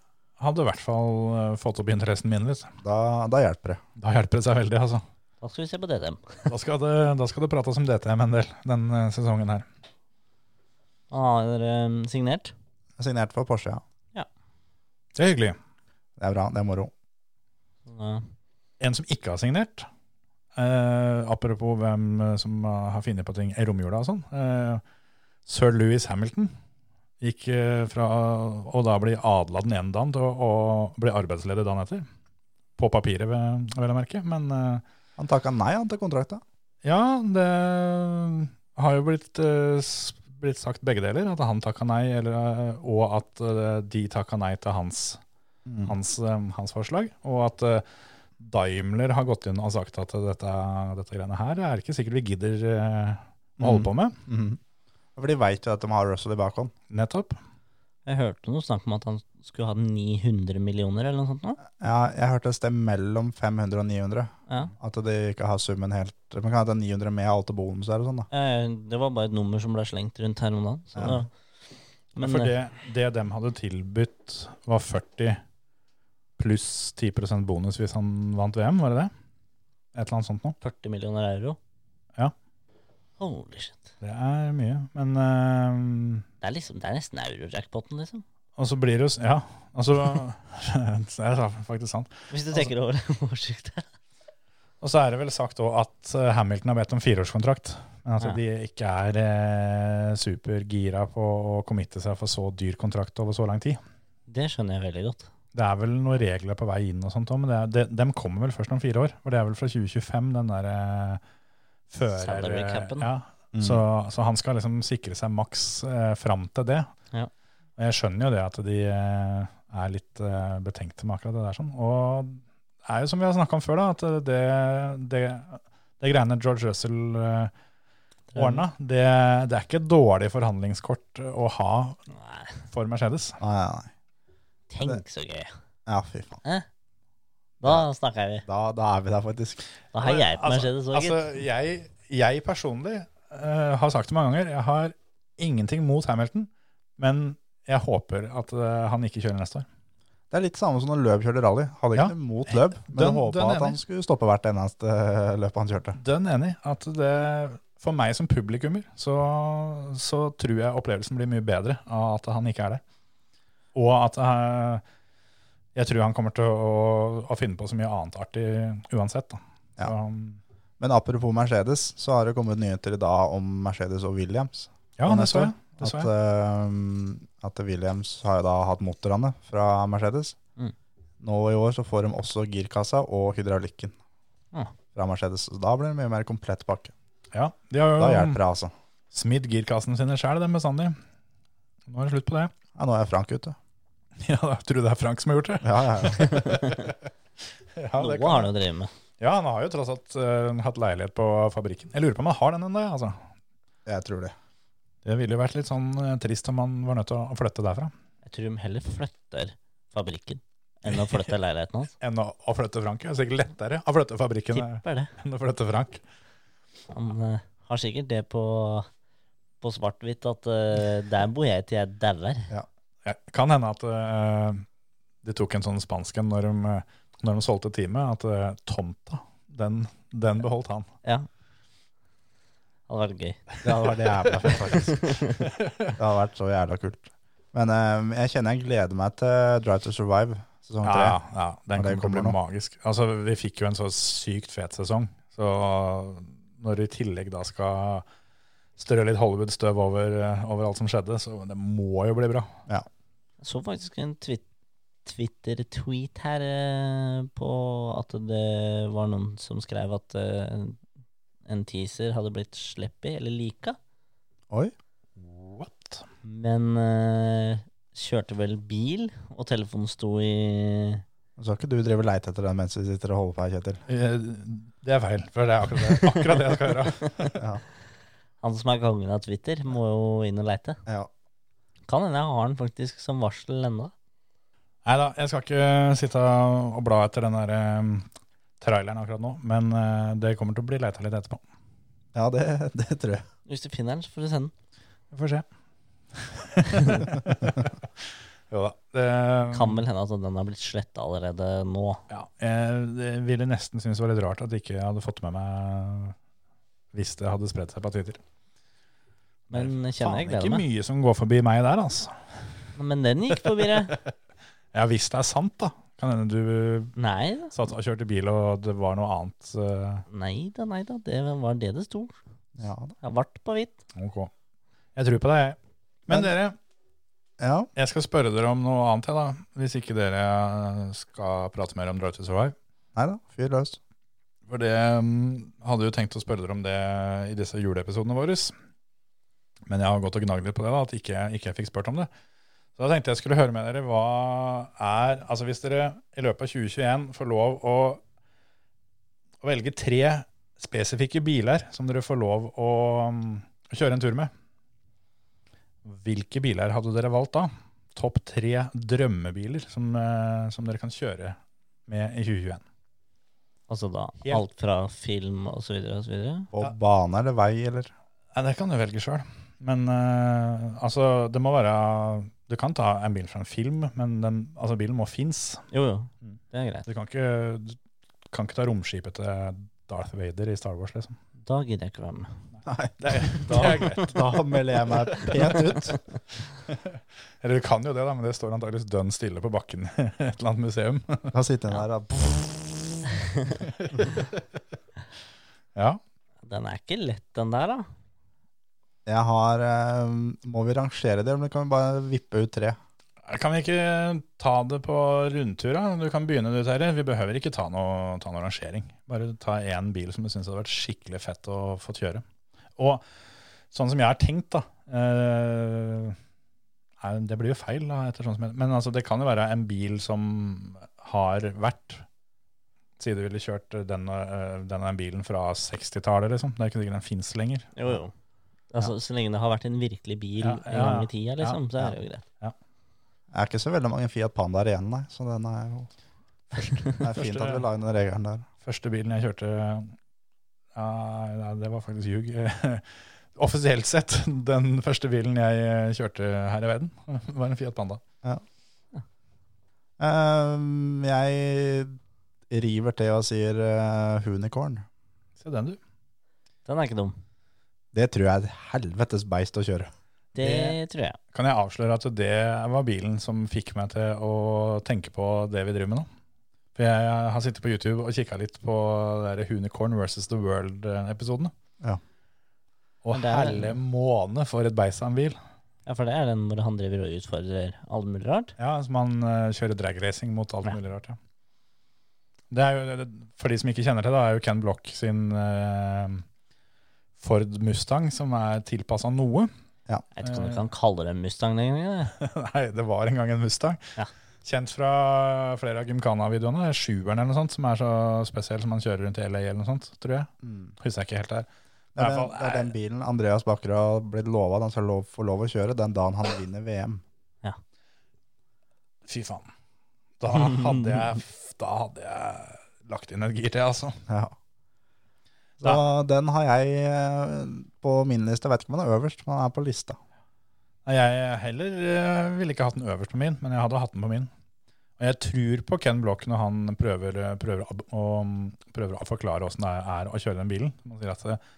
hadde i hvert fall eh, fått opp interessen min litt. Da, da hjelper det. Da hjelper det seg veldig, altså. Da skal vi se på DTM. Da skal det, da skal det prates om DTM en del denne sesongen her. Han har eh, signert. Signert for Porsche, ja. Det er hyggelig. Det er bra, det er moro. Så, En som ikke har signert, eh, apropos hvem eh, som har funnet på ting i romjula og sånn, eh, sir Louis Hamilton gikk eh, fra å da bli adla den ene dagen til å, å bli arbeidsledig dagen etter. På papiret, vel vel å merke. Men eh, Han takka nei han til kontrakta. ja, det har jo blitt, eh, s- blitt sagt begge deler. At han takka nei, eller, eh, og at eh, de takka nei til hans hans, eh, hans forslag, og at eh, Daimler har gått inn og sagt at dette, dette greiene her er ikke sikkert vi gidder eh, å Mm. holde på med. Mhm. For de veit jo at de har Russell i bakhånd. Nettopp. Jeg hørte noe snakk om at han skulle ha 900 millioner eller noe sånt nå. Ja, jeg hørte et sted mellom 500 og 900. Ja. At de ikke har summen helt Man kan ha det 900 med alt og bonuser og sånn, da. Eh, Det var bare et nummer som ble slengt rundt her om dagen. Så Ja. det, men For eh, det, det dem hadde tilbudt var 40 pluss 10 bonus hvis han vant VM, var det det? Et eller annet sånt noe. 40 millioner euro Ja. Holy shit. Det er mye. Men eh, Det er, liksom, det er nesten euro-jackpoten, liksom. Og så blir det jo s- Ja, altså (laughs) Det er faktisk sant. Hvis du tenker over (laughs) det, hvor sykt det er. Og så er det vel sagt òg at eh, Hamilton har bedt om fireårskontrakt. Men at Ja. de ikke er eh, supergira på å committe seg for så dyr kontrakt over så lang tid. Det skjønner jeg veldig godt. Det er vel noen regler på vei inn og sånt òg, men det er, de, dem kommer vel først om fire år. For det er vel fra 2025, den der eh, fører... Salary eh, capen. Ja, Mhm. så, så han skal liksom sikre seg maks eh, fram til det. Ja. Og jeg skjønner jo det at de eh, er litt eh, betenkte med akkurat det der. sånn. Og det er jo som vi har snakka om før, da, at det, det, det greiene George Russell eh, ordna, det, det er ikke et dårlig forhandlingskort å ha Nei, for Mercedes. Nei, nei, nei. tenk så gøy. Ja, fy faen. Da snakker vi. Da, da er vi der, faktisk. Da heier jeg på Altså, Mercedes òg, Altså, gitt. jeg, jeg personlig eh, har sagt det mange ganger, jeg har ingenting mot Hamilton, men jeg håper at eh, han ikke kjører neste år. Det er litt samme som når Løb kjørte rally. Hadde ikke Ja. noe mot Løb, men Den- håpa den at enig. han skulle stoppe hvert eneste eh, løp han kjørte. Den enig. At det, for meg som publikummer, så, så tror jeg opplevelsen blir mye bedre av at han ikke er der. Og at eh, jeg tror han kommer til å, å finne på så mye annet artig uansett. Da. Ja. Så, um, Men apropos Mercedes, så har det kommet nyheter i dag om Mercedes og Williams. ja, Og det neste så år, jeg. Det så At, jeg. eh, at Williams har jo da hatt motorene fra Mercedes. Mm. Nå i år så får de også girkassa og hydraulikken Ah. fra Mercedes. Så da blir det mye mer komplett pakke. Ja, de har Da jo hjelper det, altså. smidd girkassene sine sjæl, dem bestandig. Nå er det slutt på det. (laughs) Ja, nå er Frank ute. Ja, da tror du det er Frank som har gjort det? Ja, ja, ja. Ja, Noe har han jo drevet med. ja han har jo tross alt eh, hatt leilighet på fabrikken. Jeg lurer på om han har den ennå, jeg, altså. Jeg tror det. Det ville jo vært litt sånn eh, trist om han var nødt til å flytte derfra. Jeg tror de heller flytter fabrikken enn å (laughs) flytte leiligheten hans. Enn å, å flytte Frank. Det er sikkert lettere å flytte fabrikken eh, Tipper det. enn å flytte Frank. Han eh, har sikkert det på, på svart-hvitt at eh, der bor jeg til jeg dauer. Ja, kan hende at eh, de tok en sånn spansken når de, eh, når de solgte teamet, at eh, tomta, den Den beholdt han. Ja. Hadde vært gøy. Det hadde vært jævla fett, faktisk. (laughs) Det hadde vært så jævla kult. Men eh, jeg kjenner jeg gleder meg til Drive to Survive sesong Ja, tre. ja, ja. Den Når det kommer til å kommer nå. bli magisk. Altså, vi fikk jo en så sykt fet sesong. Så når du i tillegg da skal strø litt Hollywood-støv over, eh, over alt som skjedde, så det må jo bli bra. Jeg så faktisk en twit Twitter-tweet her eh, på at det var noen som skrev at eh, en teaser hadde blitt sleppy, eller lika, Oi. What? men eh, kjørte vel bil, og telefonen sto i Så har ikke du drevet leite etter den mens vi sitter og holder på her, Kjetil? Eh, Det er feil, for det er akkurat det, (laughs) akkurat det jeg skal gjøre. Ja. Han som er kongen av Twitter, må jo inn og leite. ja. Kan hende jeg har den faktisk som varsel ennå. Nei da, jeg skal ikke eh, sitte og bla etter den der eh, traileren akkurat nå, men eh, det kommer til å bli leita litt etterpå. ja, det, det tror jeg. Hvis du finner den, så får du sende den. Vi får se. jo da. Det, Kan vel hende at den har blitt sletta allerede nå. Ja, jeg det ville nesten synes det var litt rart at jeg ikke hadde fått med meg hvis det hadde spredt seg på Twitter. Men jeg kjenner jeg Faen, gleder meg. ikke mye som går forbi meg der, altså. Men den gikk forbi (laughs) deg. Ja, hvis det er sant, da. Kan hende du Nei da. satt og kjørte bil, og det var noe annet. eh, Nei da, nei da. Det var det det sto. Ja, da. Jeg vart på hvitt. Ok. Jeg tror på deg, jeg. Men Men- dere, ja. jeg skal spørre dere om noe annet, jeg, da. Hvis ikke dere skal prate mer om Drive to Survive. Nei da, fyr løs. For det mm, hadde jo tenkt å spørre dere om det i disse juleepisodene våre. Men jeg har gått og gnagd litt på det, da, at ikke, ikke jeg fikk spurt om det. Så da tenkte jeg skulle høre med dere hva er Altså hvis dere i løpet av 2021 får lov å, å velge tre spesifikke biler som dere får lov å, mm, å kjøre en tur med, hvilke biler hadde dere valgt da? Topp tre drømmebiler som, eh, som dere kan kjøre med i 2021. Altså da Helt. alt fra film og så videre og så videre. På Ja. bane eller vei, eller? Nei, det kan du velge sjøl. Men eh, altså, det må være Du kan ta en bil fra en film, men den, altså, bilen må fins. Jo, jo. Mm. Det er greit. Du kan ikke, du kan ikke ta romskipet til Darth Vader i Star Wars, liksom. Da gidder jeg ikke være med. Nei, Det er, greit. (laughs) da melder jeg meg pent ut. Eller du kan jo det, da, men det står antakeligvis dønn stille på bakken i (laughs) et eller annet museum. Da sitter jeg der og Ja. Den er ikke lett, den der, da. Jeg har eh, Må vi rangere det, eller kan vi bare vippe ut tre? Kan vi ikke ta det på rundtur, da? Du kan begynne, du, Terje. Vi behøver ikke ta noe, ta noe rangering. Bare ta én bil som du syns hadde vært skikkelig fett å få kjøre. Og sånn som jeg har tenkt, da eh, nei, Det blir jo feil, da, etter sånn som jeg Men altså, det kan jo være en bil som har vært Si du ville kjørt den og eh, den og den bilen fra 60-tallet, liksom. Det er ikke sikkert den fins lenger. Jo, jo. Altså, Så lenge det har vært en virkelig bil Ja, en ja, gang ja. i tida, liksom, så er det jo greit. Det er ikke så veldig mange Fiat Pandaer igjen, nei. Så den er jo (laughs) Det er fint at vi la inn den regelen der. Første bilen jeg kjørte ja, Nei, det var faktisk ljug. (laughs) Offisielt sett, den første bilen jeg eh, kjørte her i verden, (laughs) var en Fiat Panda. Ehm, jeg river til og sier eh, Hunicorn. Se den, du. Den er ikke dum. Det tror jeg er et helvetes beist å kjøre. Det, Det- tror jeg. Kan jeg avsløre at det var bilen som fikk meg til å tenke på det vi driver med nå? For jeg har sittet på YouTube og kikka litt på det der Unicorn versus The World-episodene. Ja. Og Men det er- helle måne for et beist av en bil. Ja, for det er den hvor han driver og utfordrer alt mulig rart. Ja, som han eh, kjører dragracing mot alt Ja. mulig rart, ja. Det er jo, det- det, for de som ikke kjenner til det, er jo Ken Block sin eh, Ford Mustang som er tilpassa noe. (laughs) Jeg vet ikke om du kan kalle det en Mustang den gangen. jeg. Nei, det var en gang en Mustang. Ja. Kjent fra flere av Gymkhana-videoene. Det er Sjueren eller noe sånt som er så spesiell som han kjører rundt i LA eller noe sånt, tror jeg. Husker jeg ikke helt der. Det, Mm. I er den, hvert fall det er den bilen Andreas Bakker har blitt lova at han skal lov, få lov å kjøre den dagen han vinner VM. Fy faen. (laughs) Da hadde jeg, da hadde jeg lagt inn et gir til, altså. Ja. Så den har jeg eh, på min liste. Jeg vet ikke om den er øverst, men den er på lista. Nei, Jeg heller eh, ville ikke hatt den øverst på min, men jeg hadde hatt den på min. Og Men jeg tror på Ken Block når han prøver, eh, prøver, å- å, prøver å forklare åssen det er å kjøre den bilen. Han sier at eh,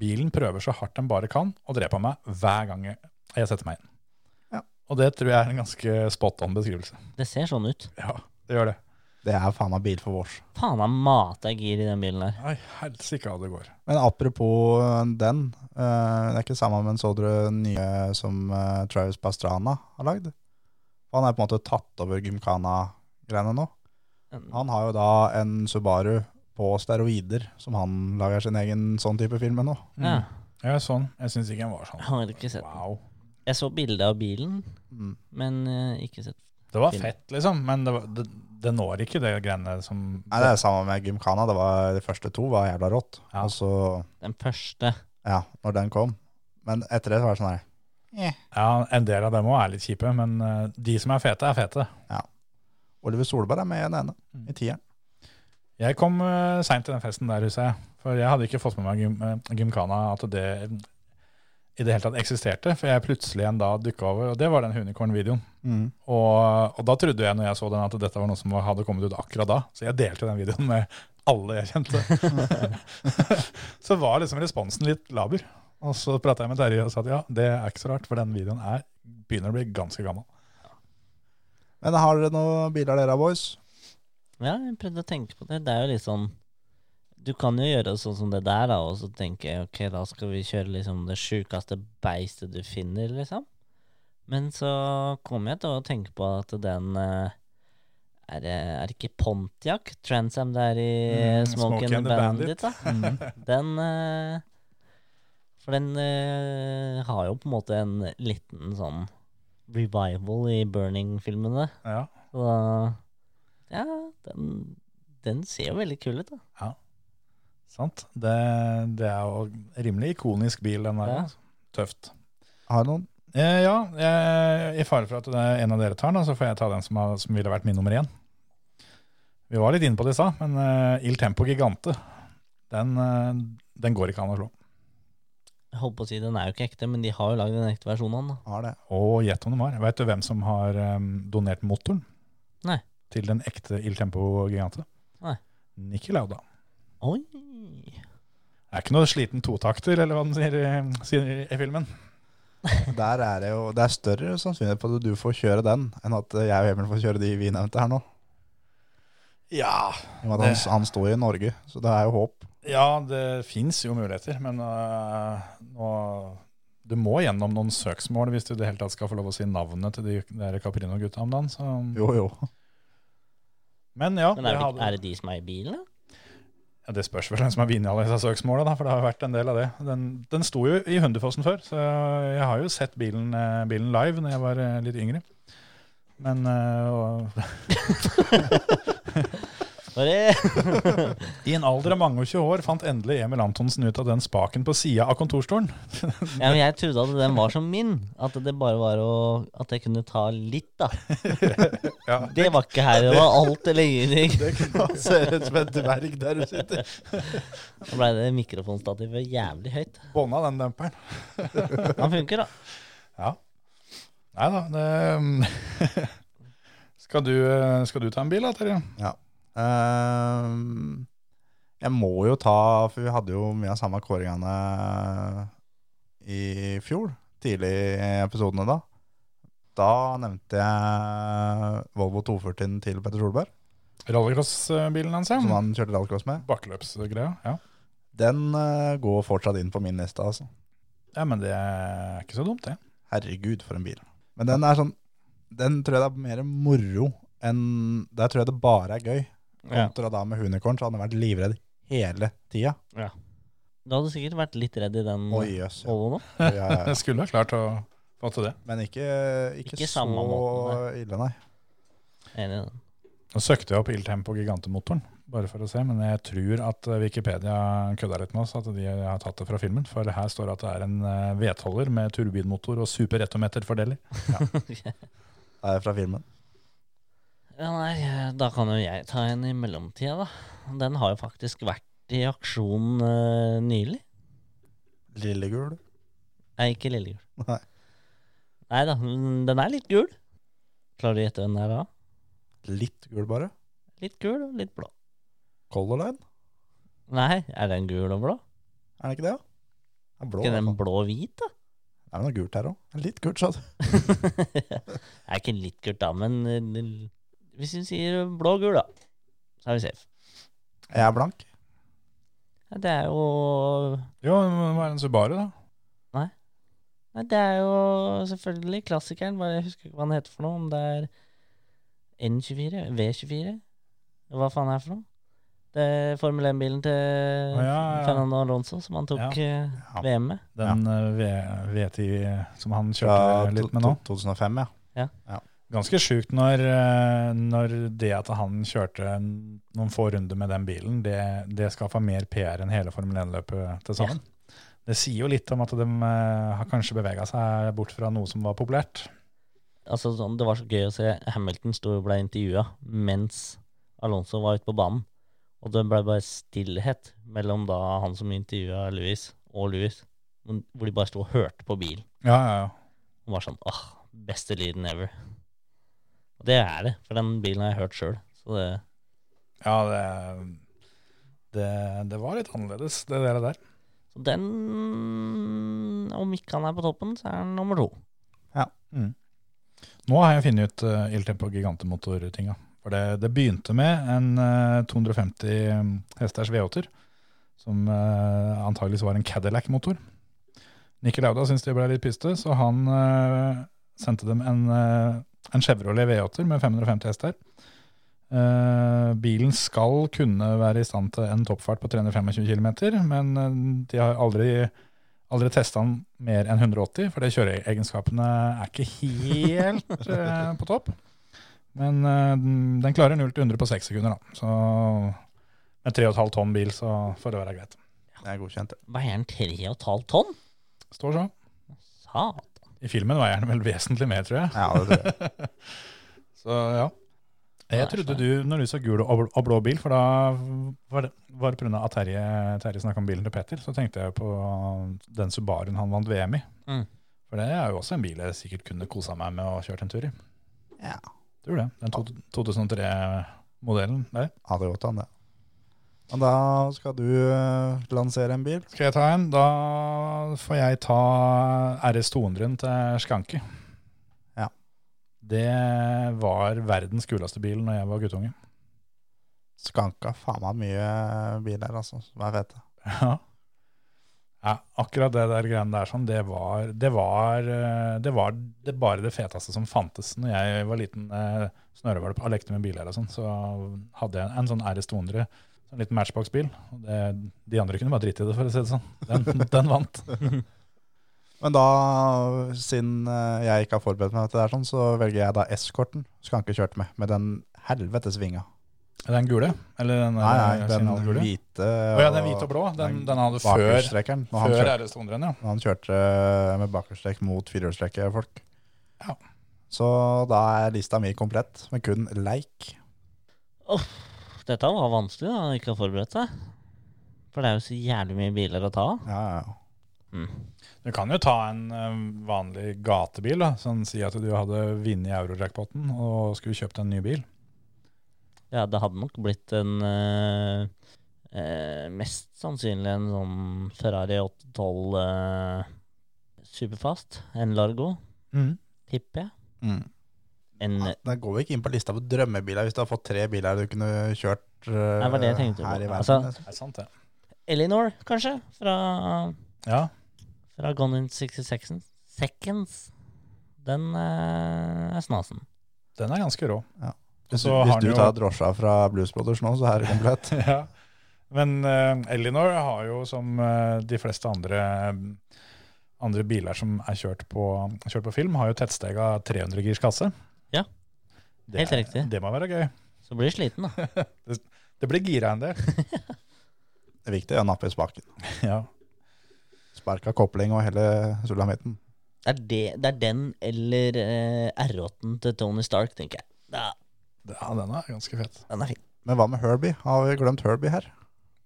bilen prøver så hardt den bare kan å drepe meg hver gang jeg- jeg setter meg inn. Ja. Og det tror jeg er en ganske spot on beskrivelse. Det ser sånn ut. Ja, det gjør det. Det er faen meg bil for vårs. Faen, han mata gir i den bilen der. Nei, helsike hva det går. Men apropos øh, den, øh, det er ikke sammen men så dere nye som øh, Travis Pastrana har lagd? Han er på en måte tatt over Gymkhana-greiene nå. Han har jo da en Subaru på steroider, som han lager sin egen sånn type film med nå. Ja, Ja, sånn. Jeg syns ikke den var sånn. har ikke sett den. Wow. Jeg så bilde av bilen, Mm. men eh, ikke sett Det var Film. fett, liksom, men det, var, det, det når ikke det greiene som Nei, det er sammen med Gymkhana. Det var, de første to var jævla rått. Ja. Og så, den første. ja, når den kom. Men etter det så var det sånn her. Ja, En del av dem òg er litt kjipe, men eh, de som er fete, er fete. Oliver Solberg er med i den ene, Mm. i tieren. Jeg kom uh, seint til den festen der, husker jeg. For jeg hadde ikke fått med meg gym, eh, Gymkhana at det i det hele tatt eksisterte. For jeg plutselig en dag dukka over, og det var den Hunicorn-videoen. Mm. Og, og da trodde jeg når jeg så den at dette var noe som hadde kommet ut akkurat da. Så jeg delte den videoen med alle jeg kjente. (laughs) så var liksom responsen litt laber. Og så prata jeg med Terje og sa at ja, det er ikke så rart, for den videoen er, begynner å bli ganske gammel. Men har dere noen biler dere, boys? Ja, jeg prøvde å tenke på det. Det er jo litt sånn Du kan jo gjøre sånn som det der, da, og så tenke ok, da skal vi kjøre liksom det sjukeste beistet du finner, liksom. Men så kom jeg til å tenke på at den eh, er, det- er det ikke Pontiac Transam det er i eh, Mm, Smoke Smokey and the Bandit, da? Mm. (laughs) Den eh, For den eh, har jo på en måte en liten sånn revival i Burning-filmene. Ja. Så da Ja, den, den ser jo veldig kul ut, da. Sant? Det, det er jo rimelig ikonisk bil, den der. Ja. altså. Tøft. Har noen? Eh, ja, eh, i fare for at det er en av dere tar den, så får jeg ta den som, har, som ville vært min nummer én. Vi var litt inne på det i stad, men eh, Il Tempo Gigante, den, eh, den går ikke an å slå. Jeg holdt på å si den er jo ikke ekte, men de har jo lagd den ekte versjonen av den. da. Har det. Og gjett om de har. Veit du hvem som har eh, donert motoren Nei. til den ekte Il Tempo Gigante? Nei. Niki Lauda. Oi! Det er ikke noe sliten totakter, eller hva den sier, i- sier i- i filmen. Der er det jo Det er større sannsynlighet på at du får kjøre den, enn at jeg og Emil får kjøre de vi nevnte her nå. Ja, I og med at han, han sto i Norge, så det er jo håp. Ja, det fins jo muligheter, men øh, nå, du må gjennom noen søksmål hvis du i det hele tatt skal få lov å si navnet til de der Caprino-gutta om dagen. Så. Jo, jo. Men ja, Men det, er det, hadde, er det de som er i bilen, da? ja, det spørs vel hvem som har vunnet alle disse søksmålene, da, for det har vært en del av det. Den, den sto jo i Hundefossen før, så jeg har jo sett bilen, eh, bilen live når jeg var eh, litt yngre. Men eh, og, Bare (laughs) i en alder av mange og 20 år fant endelig Emil Antonsen ut av den spaken på sida av kontorstolen. Ja, men jeg trodde at den var som min. At det bare var å At jeg kunne ta litt, da. (laughs) Ja. Det var ikke her. Det var alt eller ingenting. Det (laughs) ser ut som et dverg der du sitter. Da blei det mikrofonstativet jævlig høyt. Bånda den demperen. Han funker, da. Nei da, det (laughs) skal, du, skal du ta en bil da, Terje? Ehm, jeg må jo ta For vi hadde jo mye av samme kåringene i fjor. Tidlig i episodene da. Da nevnte jeg Volvo 240-en til Petter Solberg, Rallycross-bilen hans, som ja. han kjørte rallcross med. Bakkeløpsgreia, ja. Den eh, går fortsatt inn på min liste, altså. Ja, men det er ikke så dumt, det. Herregud, for en bil. Men den er sånn Den tror jeg det er mer moro enn Der tror jeg det bare er gøy. Ja. Kontra da med Hunicorn, så hadde jeg vært livredd hele tida. Du hadde sikkert vært litt redd i den Oi, jøs. Ja. Volvoen nå. Ja, ja, ja. Jeg skulle ha klart å få til det. Men ikke, ikke, Ikke så samme måten, ille, nei. Enig i den. Nå søkte jeg opp Il Tempo Gigantemotoren, bare for å se, men jeg tror at eh, Wikipedia kødda litt med oss, at de har tatt det fra filmen, for her står det at det er en eh, vedholder med turbinmotor og superrettometerfordeler. Det er fra filmen. Ja, nei, da kan jo jeg ta en i mellomtida, da. Den har jo faktisk vært i aksjon eh, nylig. Lillegul. Nei, ikke lillegul. Nei. Nei da, den er litt gul. Klarer du å gjette hvem det er da? Litt gul, bare. Litt gul og litt blå. Color Line, Nei, er den gul og blå? er det ikke det? Ja? Det er blå. Ikke i hvert den fall. blå og hvit, da? (laughs) Det er vel noe gult her òg. Litt gult, sa du. er ikke litt gult, da, men eh, l- hvis du sier blå og gul, da, så er vi safe. Jeg er blank. Nei, Det er jo Jo, men hva er en Subaru, da? Nei, det er jo selvfølgelig klassikeren, bare jeg husker ikke hva den heter for noe. Om det er N24? V24? Hva faen er det for noe? Det er Formel 1-bilen til Å, ja, ja. Fernando Alonso som han tok eh, Ja. VM med. Den eh, V- V10 som han kjørte Fra litt med nå. 2005, ja. Ganske sjukt når, eh, når det at han kjørte en- noen få runder med den bilen, det, det skaffa mer PR enn hele Formel 1-løpet til sammen. Det sier jo litt om at de eh, har kanskje bevega seg bort fra noe som var populært. Altså, sånn, det var så gøy å se Hamilton sto og ble intervjua mens Alonso var ute på banen. Og det ble bare stillhet mellom da han som intervjua Louis, og Louis. men- Hvor de bare sto og hørte på bilen. Ja, ja, ja. Og var sånn åh, beste lyden ever. Og det er det, for den bilen har jeg hørt sjøl. Så det ja det, det, det var litt annerledes, det der. der. så den Om ikke han er på toppen, så er han nummer to. Nå har jeg funnet ut uh, Iltempo Gigantemotor-tinga. For det, det begynte med en eh, 250 hesters V8-er, som uh, antageligvis var en Cadillac-motor. Nicky Lauda syntes de ble litt pyste, så han eh, sendte dem en, eh, en Chevrolet V8-er med 550 hester. Eh, bilen skal kunne være i stand til en toppfart på 325 km, men eh, de har aldri aldri testa den mer enn 180, for det kjøreegenskapene er ikke helt eh, på topp. Men eh, den- den klarer 0 til 100 på 6 sekunder, da. Så med 3,5 tonn bil så får det være greit. Det er godkjent. det. Veier han 3,5 tonn? Står så. Satan. I filmen veier den vel vesentlig mer, tror jeg. Ja, det tror jeg. Så ja. Jeg Nei, trodde faen. du, når du sa gul og bl- og blå bil, for da var det var det pga. at Terje, Terje snakka om bilen til Petter, så tenkte jeg på den Subaruen han vant VM i. Mm. For det er jo også en bil jeg sikkert kunne kosa meg med og kjørt en tur i. Ja. Tror det. Den to- 2003-modellen der. Ja, det er godt han, det. Men da skal du eh, lansere en bil. Skal jeg ta en? Da får jeg ta RS 200-en til Skanke. Ja. Det var verdens kuleste bil når jeg var guttunge. Skanka faen meg mye biler, altså. Som er fete. Ja. ja akkurat det der greiene der sånn, det var, det var, eh, det var det bare det feteste som fantes. Når jeg var liten eh, snørrevalp og lekte med biler og sånn, så hadde jeg en sånn RS 200, en liten sånn matchbox-bil. og det- De andre kunne bare drite i det, for å si det sånn. Den, (laughs) den vant. Men da, siden eh, jeg ikke har forberedt meg til det, her sånn, så velger jeg da eskorten. Skanke kjørte med, med den helvetes vinga. Er det Den gule? Eller den, eh, Nei, nei, den signalgule? hvite Å ja, den hvite og blå. Den, den hadde før, bakhjulstrekkeren. Når han før kjørte, RS 200-en, ja. når han kjørte eh, med bakhjulstrekk mot firehjulstrekkefolk. Ja. Så da er lista mi komplett, med kun leik. Uff, dette var vanskelig da, han ikke har forberedt seg. For det er jo så jævlig mye biler å ta Mm. av. Ja, ja, ja. Du kan jo ta en eh, vanlig gatebil, da. Sånn si at du hadde vunnet euro-jackpoten og skulle kjøpt en ny bil. Ja, det hadde nok blitt en eh, eh, Mest sannsynlig en sånn Ferrari 812 eh, Superfast. En Largo, tipper jeg. Mm. En Ja, Den Ah, går jo ikke inn på lista på drømmebiler hvis du har fått tre biler du kunne kjørt eh, Nei, det var det jeg tenkte på. her i verden. Altså- liksom. Det er sant, det. Elinor, kanskje? Fra, Ja. fra Gone in 66 Seconds. Den eh, er snasen. Den er ganske rå. Ja. Og Hvis, så du, har hvis den du jo- tar drosja fra Blues Brothers nå, så er det komplett. (laughs) (laughs) ja. Men eh, Elinor har jo som eh, de fleste andre, andre biler som er kjørt på, kjørt på film, har jo tettstega 300 girs kasse. Ja. Det Helt riktig. Det må være gøy. Så blir du sliten, da. Det blir gira en (laughs) del. Det viktige er å nappe i spaken. ja. Sparka kopling og hele sulamitten. Det er, det, det er den eller eh, R8-en til Tony Stark, tenker jeg. Da, ja, den er ganske fet. den er fin. Men hva med Herbie? Har vi glemt Herbie her?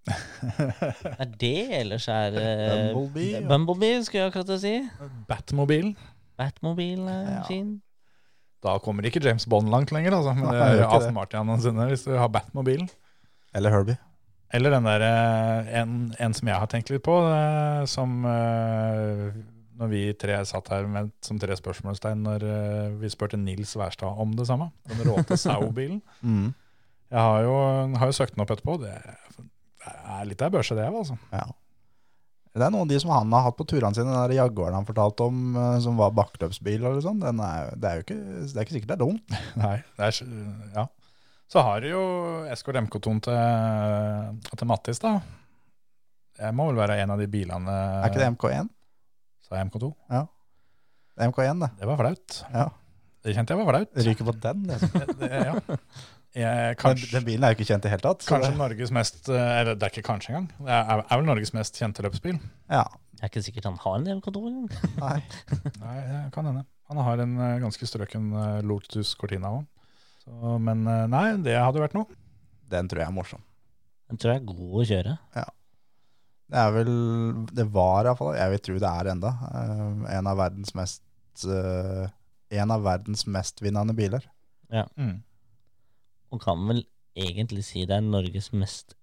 Det er det, ellers er eh, Bumblebee, ja. Bumblebee, skulle jeg akkurat til å si. Batmobilen. Batmobilen er Ja. fin. Da kommer ikke James Bond langt lenger, altså. Men det Nei, er det er ikke det. Aston Martin sine hvis du har Batmobilen. Eller Herbie. Eller den der, eh, en, en som jeg har tenkt litt på, eh, som eh, når vi tre satt her med, som tre spørsmålstegn når eh, vi spurte Nils Wærstad om det samme. Den råte Sau-bilen. Mm. Jeg har jo, har jo søkt den opp etterpå. Det er litt av ei børse, det òg, altså. Ja. Det er noen av de som han har hatt på turene sine, den der Jaguaren han fortalte om, eh, som var bakkløpsbil eller sånn, den er, jo- det er jo ikke, det er ikke sikkert det er dumt. Nei, det er, s- ja. Så har du jo Escort MK-tonen til, eh, til Mattis, da. Jeg må vel være en av de bilene Er ikke det MK1? Sa jeg MK2? Det er MK1, det. Det var flaut. Ja. Det kjente jeg var flaut. Det Ryker på den, (laughs) liksom. Det, det, ja. Jeg, Men kanskje, den bilen er jo ikke kjent i hele tatt. så kanskje det- Norges mest eh, Eller det er ikke kanskje engang. Det er, er vel Norges mest kjente løpsbil. Ja, Det er ikke sikkert han har en MK2 engang. nei. Nei, det kan hende. Han har en eh, ganske strøken eh, Lotus Cortina òg. Men eh, nei, det hadde vært noe. (laughs) Den tror jeg er morsom. Den tror jeg er god å kjøre. Det er vel, det var iallfall, jeg vil tro det er enda, eh, en av verdens mest eh, en av verdens mestvinnende biler. Mm. Og kan vel egentlig si det er Norges mest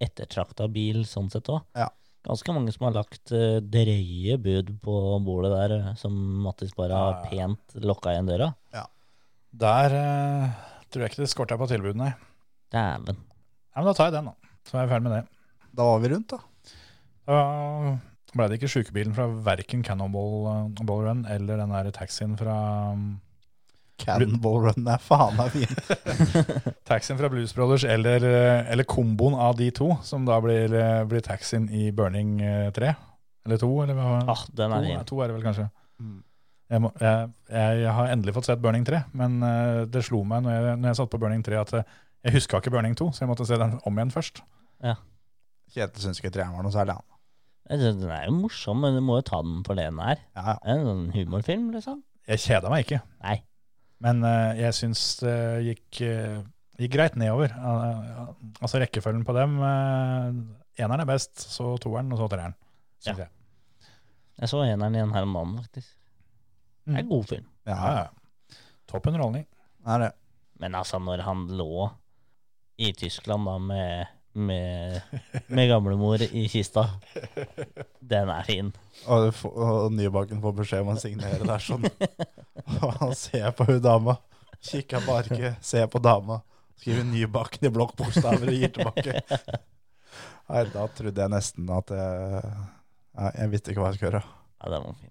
ettertrakta bil sånn sett òg. Ja. Ganske mange som har lagt eh, drøye bud på bordet der, eh, som Mattis bare har Ja, pent lokka igjen døra. Der eh, tror jeg ikke det skorter på tilbud, nei. nei. Dæven. Men da tar jeg den, da. Så er jeg ferdig med det. Da var vi rundt, da. Da ble det ikke sjukebilen fra verken Cannonball eh, Ball Run eller den der taxien fra Cannonball Run er faen meg fin. Taxien fra Blues Brothers eller, eh, eller komboen av de to, som da blir, eh, blir taxien i Burning eh, 3. Eller 2, eller hva? Ah, den to, er ja, fin. to er det vel kanskje. Mm. Jeg, må, jeg, jeg har endelig fått sett Burning 3, men eh, det slo meg når jeg, når jeg satt på Burning 3 at eh, jeg huska ikke Burning 2, så jeg måtte se den om igjen først. Kjetil syns ikke treeren var noe særlig, han. Jeg synes Den er jo morsom, men du må jo ta den for det den er. Ja, ja. Det er En sånn humorfilm, liksom. Jeg kjeda meg ikke, Nei. men eh, jeg syns det gikk, eh, gikk greit nedover. Eh, altså rekkefølgen på dem eh, Eneren er best, så toeren, og så treeren. synes jeg. Jeg så eneren igjen her om dagen, faktisk. Mm. Det er en god film. ja, Ja, ja. ja. Topp underholdning. Det er det. Men altså, når han lå i Tyskland da med, med, med gamlemor i kista Den er fin. Og, du får- og Nybakken får beskjed om å signere der sånn. Og han ser på hun dama, kikker på arket, ser på dama, skriver Nybakken i blokkbokstaver og gir tilbake. Nei, da trodde jeg nesten at jeg, Nei, jeg visste ikke hva jeg skulle gjøre. Ja, den var fin.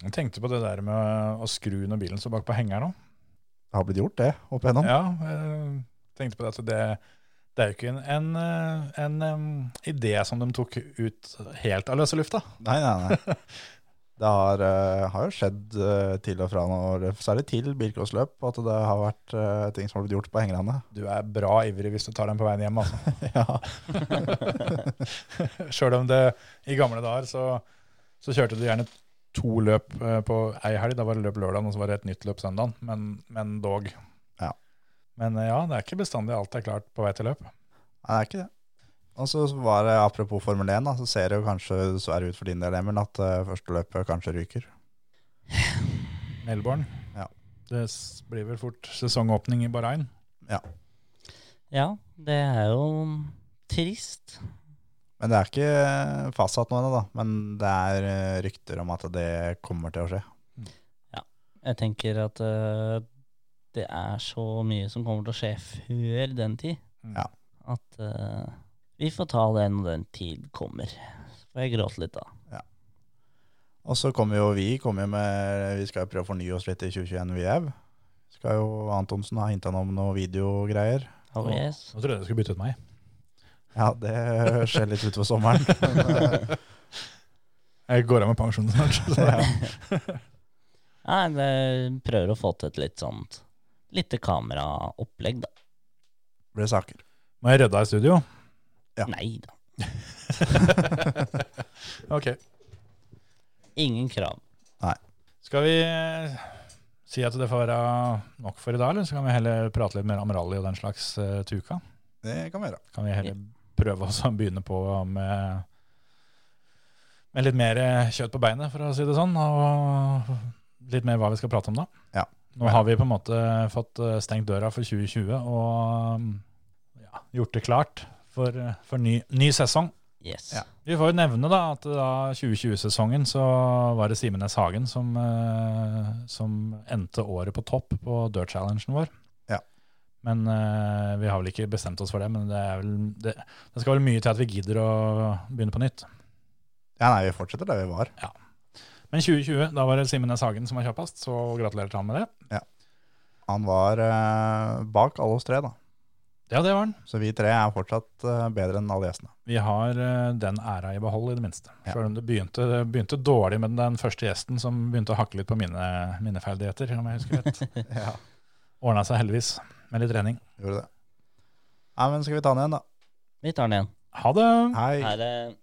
Jeg tenkte på det der med å- å skru når bilen står bak på hengeren òg. Det har blitt gjort, det, opp igjennom. Ja, jeg tenkte på det at det, det er jo ikke en, en, eh, en em, idé som de tok ut helt av løse lufta. Nei, nei, nei. Det har, eh, har jo skjedd eh, til og fra nå, særlig til bilcrossløp, at det har vært eh, ting som har blitt gjort på hengerne. Du er bra ivrig hvis du tar den på veien hjem, altså. (laughs) Ja. Sjøl om det i gamle dager så, så kjørte du gjerne to løp eh, på ei helg. Da var det løp lørdag, og så var det et nytt løp søndag. Men, men dog. Ja. Men eh, ja, det er ikke bestandig alt er klart på vei til løp. Nei, det er ikke det. Og så var det, apropos Formel 1, da, så ser det jo kanskje dessverre ut for din del, Emil, at eh, første løpet kanskje ryker. Melbourne. Ja. Det s- blir vel fort sesongåpning i Bahrain. Ja, det er jo trist. Men det er ikke eh, fastsatt noe ennå, da. Men det er eh, rykter om at det kommer til å skje. Jeg tenker at eh, det er så mye som kommer til å skje før den tid. Ja. At eh, vi får ta det når den tid kommer. Så får jeg gråte litt da. Og så kommer jo vi kommer jo med Vi skal jo prøve å fornye oss litt i 2021, vi òg. Skal jo Antonsen ha hinta om noe videogreier. Oh, Ja. yes. Nå trodde jeg du skulle bytte ut meg. Ja, det skjer litt utover sommeren. (laughs) Men, eh, Jeg går av med pensjon snart. så det er- Nei, jeg prøver å få til et litt sånt lite kameraopplegg, da. blir det saker. Må jeg redde deg i studio? Ja. Nei da. Ok. Ingen krav. Skal vi eh, si at det får være nok for i dag, eller så kan vi heller prate litt mer om rally og den slags eh, til uka? Det kan vi gjøre. Kan vi heller prøve oss å begynne på med, med litt mer eh, kjøtt på beinet, for å si det sånn, og litt mer hva vi skal prate om da? Nå har vi på en måte fått eh, stengt døra for 2020 og mm, ja, gjort det klart for, eh, for ny, ny sesong. Yes. Ja. Vi får jo nevne da at da 2020-sesongen så var det Simen S. Hagen som, eh, som endte året på topp på Dirt Challengen vår. Ja. Men eh, vi har vel ikke bestemt oss for det, men det, er vel, det, det skal vel mye til at vi gidder å begynne på nytt. Ja, nei, vi fortsetter der vi var. Men 2020, da var det Simen S. Hagen som var kjappest, så gratulerer til han med det. Han var eh, bak alle oss tre, da. Ja, det var han. Så vi tre er fortsatt eh, bedre enn alle gjestene. Vi har eh, den æra i behold, i det minste. Ja. Selv om det begynte, det begynte dårlig med den første gjesten som begynte å hakke litt på mine, mine ferdigheter, om jeg husker (laughs) rett. Ja, Ordna seg heldigvis med litt trening. gjorde det. Nei, men skal vi ta den igjen, da? Vi tar den igjen. Ha det! Hei. Her er